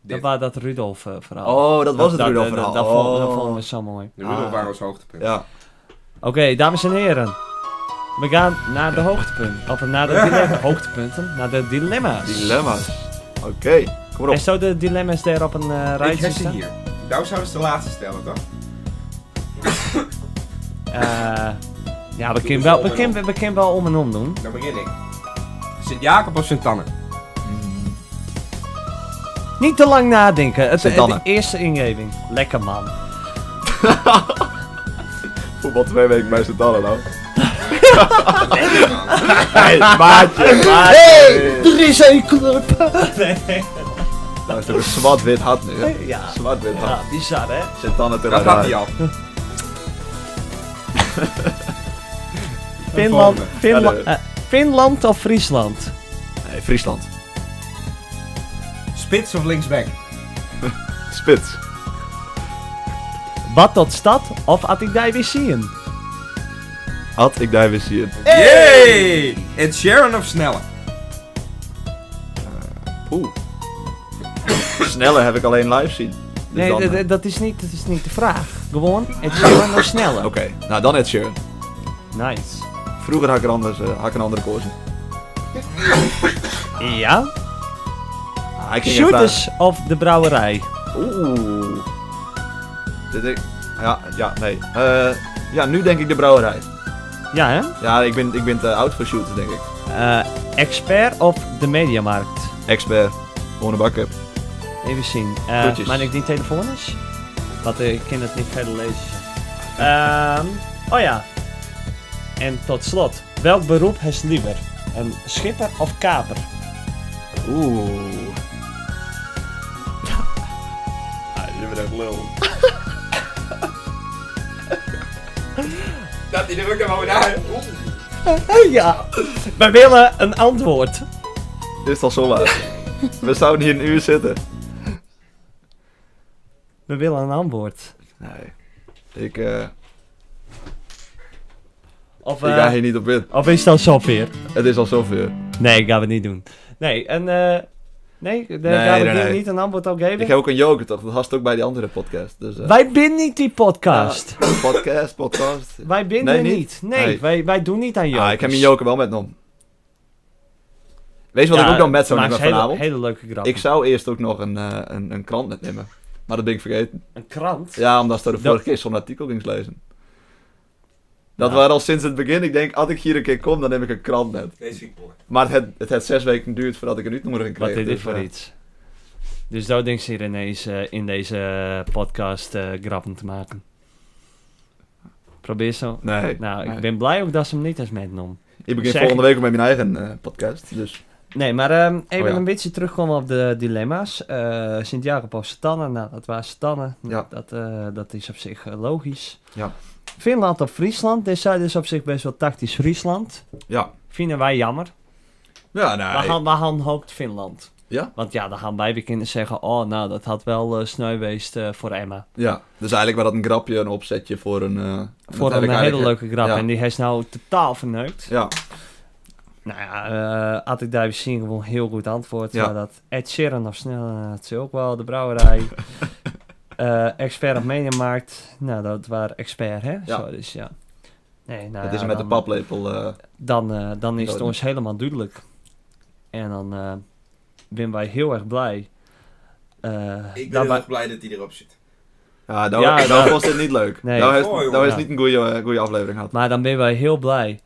Speaker 2: Dat was dat Rudolf eh, verhaal.
Speaker 3: Oh, dat was het
Speaker 2: dat,
Speaker 3: Rudolf
Speaker 2: Dat, dat, vond- dat
Speaker 3: verhaal. Oh.
Speaker 2: vonden we zo mooi.
Speaker 1: De Rudolf
Speaker 3: Ah.
Speaker 1: waren ons hoogtepunt.
Speaker 3: Ja.
Speaker 2: Oké, dames en heren. We gaan naar de hoogtepunten. Of naar de dilemma- hoogtepunten. Naar de dilemma's.
Speaker 3: Dilemma's. Oké, kom maar op.
Speaker 2: En zo de dilemma's daar op een eh,
Speaker 1: ik
Speaker 2: rijtje
Speaker 1: heb ze
Speaker 2: staan?
Speaker 1: hier. Nou zouden ze de laatste stellen, toch?
Speaker 2: Eh, ja, we
Speaker 1: Doe
Speaker 2: kunnen
Speaker 1: dus
Speaker 2: wel,
Speaker 1: om
Speaker 2: we
Speaker 1: en
Speaker 2: kunnen-
Speaker 1: om.
Speaker 2: we kunnen wel om en om doen.
Speaker 1: Dan begin ik. Sint-Jacob of Sint-Anne?
Speaker 2: Niet te lang nadenken. Het,
Speaker 3: Sint-Anne.
Speaker 2: de eerste ingeving. Lekker man.
Speaker 3: Voetbal twee weken bij sint Anne nou.
Speaker 1: Lekker man.
Speaker 3: Hey, maatje, maatje.
Speaker 2: Er is een club.
Speaker 3: Nou is het ook een zwart-wit hart nu. hè?
Speaker 2: Ja.
Speaker 3: Zwart-wit hart.
Speaker 2: Ja, bizar hè.
Speaker 3: sint Anne
Speaker 1: Dat had hij al.
Speaker 2: Finland,
Speaker 1: volgende.
Speaker 2: Finla-
Speaker 3: Ja, de-
Speaker 2: eh, Finland of Friesland?
Speaker 3: Nee, Friesland.
Speaker 1: Spits of linksback?
Speaker 3: Spits.
Speaker 2: Wat tot stad of Attigdij weer zien?
Speaker 3: Had ik daar weer zien.
Speaker 1: Yay! Ed Sharon of Snelle?
Speaker 3: Oeh. Sneller heb ik alleen live zien. Dus
Speaker 2: Nee,
Speaker 3: dan,
Speaker 2: d- d-
Speaker 3: eh,
Speaker 2: dat is, niet, dat is niet de vraag. Gewoon, het is gewoon nog sneller.
Speaker 3: Oké, nou dan Ed Sheeran.
Speaker 2: Nice.
Speaker 3: Vroeger had ik er anders, eh, had ik een andere koers. in.
Speaker 2: Ja?
Speaker 3: Ah, ik ging echt
Speaker 2: Shooters of de brouwerij?
Speaker 3: vragen. Oeh. Dit ik... Ja, ja, nee. Eh, ja, nu denk ik de brouwerij.
Speaker 2: Ja hè?
Speaker 3: Ja, ik ben, ik ben te oud voor shooters, denk ik.
Speaker 2: Eh, expert of de mediamarkt?
Speaker 3: Expert. Gewoon een bak heb.
Speaker 2: Even zien. Eh
Speaker 3: Groetjes.
Speaker 2: maar ik die telefoon is? Want eh, ik kan het niet verder lezen. Ehm, oh ja. En tot slot. Welk beroep is liever? Een schipper of kaper?
Speaker 3: Oeh.
Speaker 1: Dat die er ook gewoon naar.
Speaker 2: Oh ja. We willen een antwoord.
Speaker 3: Dit is al zo laat. We zouden hier een uur zitten.
Speaker 2: We willen een antwoord.
Speaker 3: Nee. Ik, eh,
Speaker 2: Of,
Speaker 3: ik
Speaker 2: eh,
Speaker 3: ga hier niet op in.
Speaker 2: of is dat zover?
Speaker 3: Het is al zoveel.
Speaker 2: Nee, gaan we niet doen. Nee, en... eh, nee, daar
Speaker 3: Nee,
Speaker 2: gaan we
Speaker 3: nee,
Speaker 2: hier
Speaker 3: nee.
Speaker 2: niet een antwoord op geven.
Speaker 3: Ik heb ook een joker toch? Dat had ook bij die andere podcast. Dus, eh,
Speaker 2: Wij binden niet die podcast.
Speaker 3: ja, podcast, podcast.
Speaker 2: Wij binden
Speaker 3: Nou. Nee, niet?
Speaker 2: niet. Nee,
Speaker 3: Nee.
Speaker 2: Wij, wij doen niet aan jou.
Speaker 3: Ja, Ah, ik heb mijn joker wel metnom. Weet je wat
Speaker 2: Ja,
Speaker 3: ik ook dan met zou
Speaker 2: maar
Speaker 3: nemen
Speaker 2: is hele-
Speaker 3: vanavond?
Speaker 2: Hele, leuke grap.
Speaker 3: Ik zou eerst ook nog een, eh, een, een krant metnemen. Maar dat ben ik vergeten.
Speaker 2: Een krant?
Speaker 3: Ja, omdat ze de vorige
Speaker 2: Dat-
Speaker 3: keer zo'n artikel ging lezen. Dat
Speaker 2: Ja.
Speaker 3: waren al sinds het begin. Ik denk, als ik hier een keer kom, dan neem ik een krant met.
Speaker 1: Deze vind ik mooi.
Speaker 3: Maar het, het had zes weken geduurd voordat ik een uitnodiging kreeg.
Speaker 2: Wat is dit
Speaker 3: dus,
Speaker 2: voor
Speaker 3: eh,
Speaker 2: iets? Dus daar denkt ze hier ineens eh, in deze podcast eh, grappen te maken. Probeer zo.
Speaker 3: Nee.
Speaker 2: Nou, ik
Speaker 3: nee.
Speaker 2: ben blij ook dat ze hem niet als metnom.
Speaker 3: Ik begin
Speaker 2: Zeg-
Speaker 3: volgende week ook met mijn eigen eh, podcast. Dus
Speaker 2: Nee, maar ehm, even
Speaker 3: Oh ja.
Speaker 2: een beetje terugkomen op de dilemma's. Eh Sint-Jacob of Stannen, nou, dat waren Stannen.
Speaker 3: Ja.
Speaker 2: Dat, eh, dat is op zich eh, logisch.
Speaker 3: Ja.
Speaker 2: Finland of Friesland, dit zijn dus op zich best wel tactisch Friesland.
Speaker 3: ja.
Speaker 2: Vinden wij jammer.
Speaker 3: Ja,
Speaker 2: We
Speaker 3: nou.
Speaker 2: gaan, we gaan hoopt Finland.
Speaker 3: Ja?
Speaker 2: Want ja, dan gaan wij weer kinderen zeggen... oh, nou, dat had wel eh sneu geweest eh, voor Emma.
Speaker 3: Ja, dus eigenlijk was dat een grapje, een opzetje voor een... eh, dat
Speaker 2: voor
Speaker 3: heb
Speaker 2: een
Speaker 3: ik
Speaker 2: hele
Speaker 3: eigenlijk- eh,
Speaker 2: leuke grap.
Speaker 3: ja.
Speaker 2: En die is nou totaal verneukt.
Speaker 3: Ja,
Speaker 2: Nou ja, eh, had ik daar weer zien, gewoon heel goed antwoord.
Speaker 3: Ja.
Speaker 2: Maar dat Ed Sheeran of snel, eh, het is ook wel de brouwerij. Eh, expert op Mediamarkt. Nou, dat waren expert, hè?
Speaker 3: Ja.
Speaker 2: Zo, dus ja. Nee, nou
Speaker 3: dat
Speaker 2: ja,
Speaker 3: is met de
Speaker 2: dan-
Speaker 3: paplepel. eh,
Speaker 2: dan, eh, dan is het
Speaker 3: Doden.
Speaker 2: ons helemaal duidelijk. En dan eh zijn wij heel erg blij. Eh,
Speaker 3: Nou,
Speaker 1: Ik ben
Speaker 2: dat
Speaker 1: heel
Speaker 2: wij-
Speaker 1: erg blij dat hij erop zit.
Speaker 3: Ja, nou,
Speaker 2: Ja,
Speaker 3: nou
Speaker 2: nou-
Speaker 3: was dit niet leuk.
Speaker 2: Nee.
Speaker 3: Nou, is,
Speaker 1: Oh, jongen.
Speaker 3: nou is
Speaker 2: Ja.
Speaker 3: niet een goede, eh, goede aflevering gehad.
Speaker 2: Maar dan zijn wij heel blij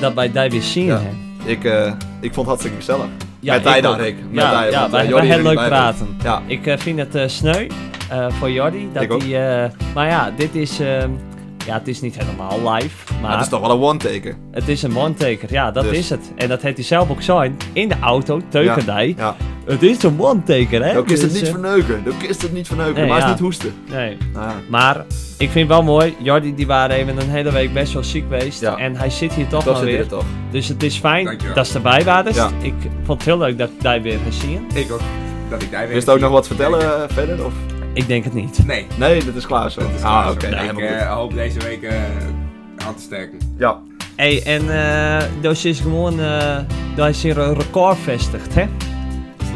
Speaker 2: dat wij daar weer zien.
Speaker 3: Ja.
Speaker 2: hè.
Speaker 3: Ik, eh, ik vond het hartstikke gezellig.
Speaker 2: Ja,
Speaker 3: met hij
Speaker 2: ik
Speaker 3: dan,
Speaker 2: ook.
Speaker 3: Rick. Met
Speaker 2: ja,
Speaker 3: hij,
Speaker 2: ja
Speaker 3: want,
Speaker 2: wij,
Speaker 3: eh,
Speaker 2: wij
Speaker 3: Jordi is
Speaker 2: heel
Speaker 3: er
Speaker 2: leuk
Speaker 3: niet bij.
Speaker 2: praten.
Speaker 3: Ja,
Speaker 2: Ik eh, vind het eh, sneu eh, voor Jordi. Dat
Speaker 3: Ik ook.
Speaker 2: hij, eh, maar ja, dit is... ehm, ja, het is niet helemaal live, maar
Speaker 3: dat is toch wel een one-taken.
Speaker 2: het is een one-taker. Ja, dat
Speaker 3: Dus.
Speaker 2: is het. En dat heeft hij zelf ook zijn in de auto, Teugendij.
Speaker 3: Ja.
Speaker 2: Het is een one-taker, hè?
Speaker 3: Dan is het
Speaker 2: Dus,
Speaker 3: niet
Speaker 2: eh,
Speaker 3: verneuken. Dan is het niet verneuken.
Speaker 2: Nee,
Speaker 3: maar het
Speaker 2: ja.
Speaker 3: is niet hoesten.
Speaker 2: Nee,
Speaker 3: Nou, ja.
Speaker 2: Maar ik vind wel mooi, Jordi die waren even een hele week best wel ziek geweest.
Speaker 3: Ja.
Speaker 2: En hij zit hier toch
Speaker 3: Toch
Speaker 2: nog
Speaker 3: zit hij er
Speaker 2: weer.
Speaker 3: toch.
Speaker 2: Dus het is fijn
Speaker 1: Dankjewel.
Speaker 2: dat ze erbij waren.
Speaker 3: Ja.
Speaker 2: Ik vond het heel leuk dat ik daar weer ga zien.
Speaker 1: Ik ook. Dat ik daar weer.
Speaker 3: Wist je ook nog wat vertellen eh, verder? Of?
Speaker 2: Ik denk het niet.
Speaker 1: Nee.
Speaker 3: Nee, dat is klaar zo.
Speaker 1: Dat is
Speaker 3: ah,
Speaker 1: klaar
Speaker 3: oké.
Speaker 1: zo.
Speaker 3: nou,
Speaker 1: ik
Speaker 3: helemaal goed.
Speaker 1: eh, hoop deze week eh, aan te sterken.
Speaker 2: Nou,
Speaker 3: Ja,
Speaker 2: hey, en eh dus is gewoon eh, daar is hier een record vestigd, hè?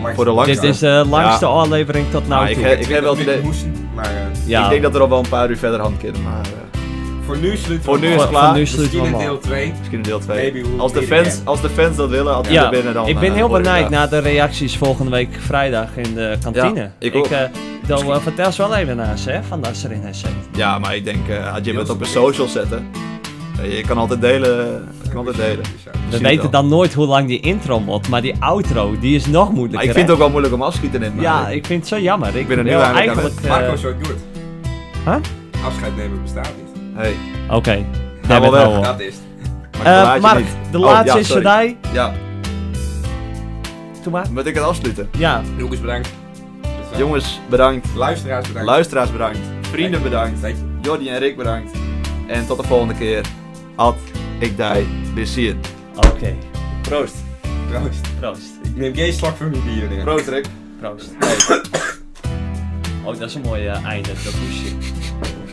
Speaker 1: Langs-
Speaker 3: Voor de
Speaker 2: Dit
Speaker 3: langste.
Speaker 2: is de langste
Speaker 3: Ja.
Speaker 2: aflevering tot
Speaker 3: Maar
Speaker 2: nu
Speaker 3: ik
Speaker 2: toe.
Speaker 3: heb- ik heb wel het
Speaker 1: Met
Speaker 3: idee-
Speaker 1: moesten, maar eh,
Speaker 2: ja.
Speaker 3: Ik denk dat we er al wel een paar uur verder hand kunnen, maar eh,
Speaker 1: voor nu sluiten we
Speaker 3: Voor nu
Speaker 1: af.
Speaker 3: is
Speaker 2: Van-
Speaker 3: het klaar.
Speaker 2: van nu sluiten
Speaker 1: Misschien
Speaker 2: we
Speaker 1: in
Speaker 2: hem
Speaker 1: deel
Speaker 2: af.
Speaker 1: 2.
Speaker 3: misschien in deel 2.
Speaker 1: Maybe we'll
Speaker 3: Als de,
Speaker 1: meet
Speaker 3: fans,
Speaker 1: again.
Speaker 3: als de fans dat willen, als die
Speaker 2: Ja,
Speaker 3: er binnen dan...
Speaker 2: ik ben
Speaker 3: eh,
Speaker 2: heel
Speaker 3: hoor je
Speaker 2: benieuwd
Speaker 3: dat.
Speaker 2: naar de reacties volgende week vrijdag in de kantine.
Speaker 3: Ja, ik ook.
Speaker 2: eh, dan eh, vertel ze wel even naar ze, hè, van dat ze erin zijn.
Speaker 3: Ja, maar ik denk, eh, had je
Speaker 1: Deels
Speaker 3: het op een
Speaker 1: verkeerd.
Speaker 3: social zetten. eh, Je kan altijd delen. Je kan altijd delen.
Speaker 2: We
Speaker 1: dus, eh,
Speaker 3: Misschien
Speaker 2: weten
Speaker 3: wel.
Speaker 2: dan nooit hoe lang die intro moet, maar die outro, die is nog
Speaker 3: Maar
Speaker 2: moeilijker.
Speaker 3: Ah, ik vind
Speaker 2: hè?
Speaker 3: het ook wel moeilijk om afschieten in. maar-
Speaker 2: Ja, ik vind het zo jammer. Ik,
Speaker 3: ben er
Speaker 2: wil
Speaker 3: heel erg aan
Speaker 2: eigenlijk... eh,
Speaker 1: Marco, zo doe het.
Speaker 2: Huh?
Speaker 1: Afscheid nemen bestaat niet.
Speaker 3: Hey,
Speaker 2: Oké.
Speaker 3: wel
Speaker 2: David
Speaker 3: weg.
Speaker 2: Howell.
Speaker 1: Dat is het.
Speaker 3: maar ik
Speaker 2: nou Eh,
Speaker 3: verlaat je
Speaker 2: Mark,
Speaker 3: niet.
Speaker 2: de
Speaker 3: Oh,
Speaker 2: laatste
Speaker 3: ja,
Speaker 2: is
Speaker 3: sorry.
Speaker 2: erbij.
Speaker 3: Ja,
Speaker 2: Doe maar.
Speaker 3: moet ik het afsluiten.
Speaker 2: Ja,
Speaker 1: Lucas, bedankt. Dat was-
Speaker 3: Jongens, bedankt.
Speaker 1: Luisteraars, bedankt.
Speaker 3: Luisteraars, bedankt. Vrienden, bedankt.
Speaker 1: Dank je.
Speaker 3: Jordi en Rick, bedankt. En tot de volgende keer. Ad, ik die, we zien.
Speaker 2: oké.
Speaker 3: Proost.
Speaker 1: Proost.
Speaker 2: Proost.
Speaker 1: Ik neem geen slok van mijn bier. jongen.
Speaker 3: Proost, Rick.
Speaker 2: Proost. Oh, dat is een mooi eh, einde. Dat moest je.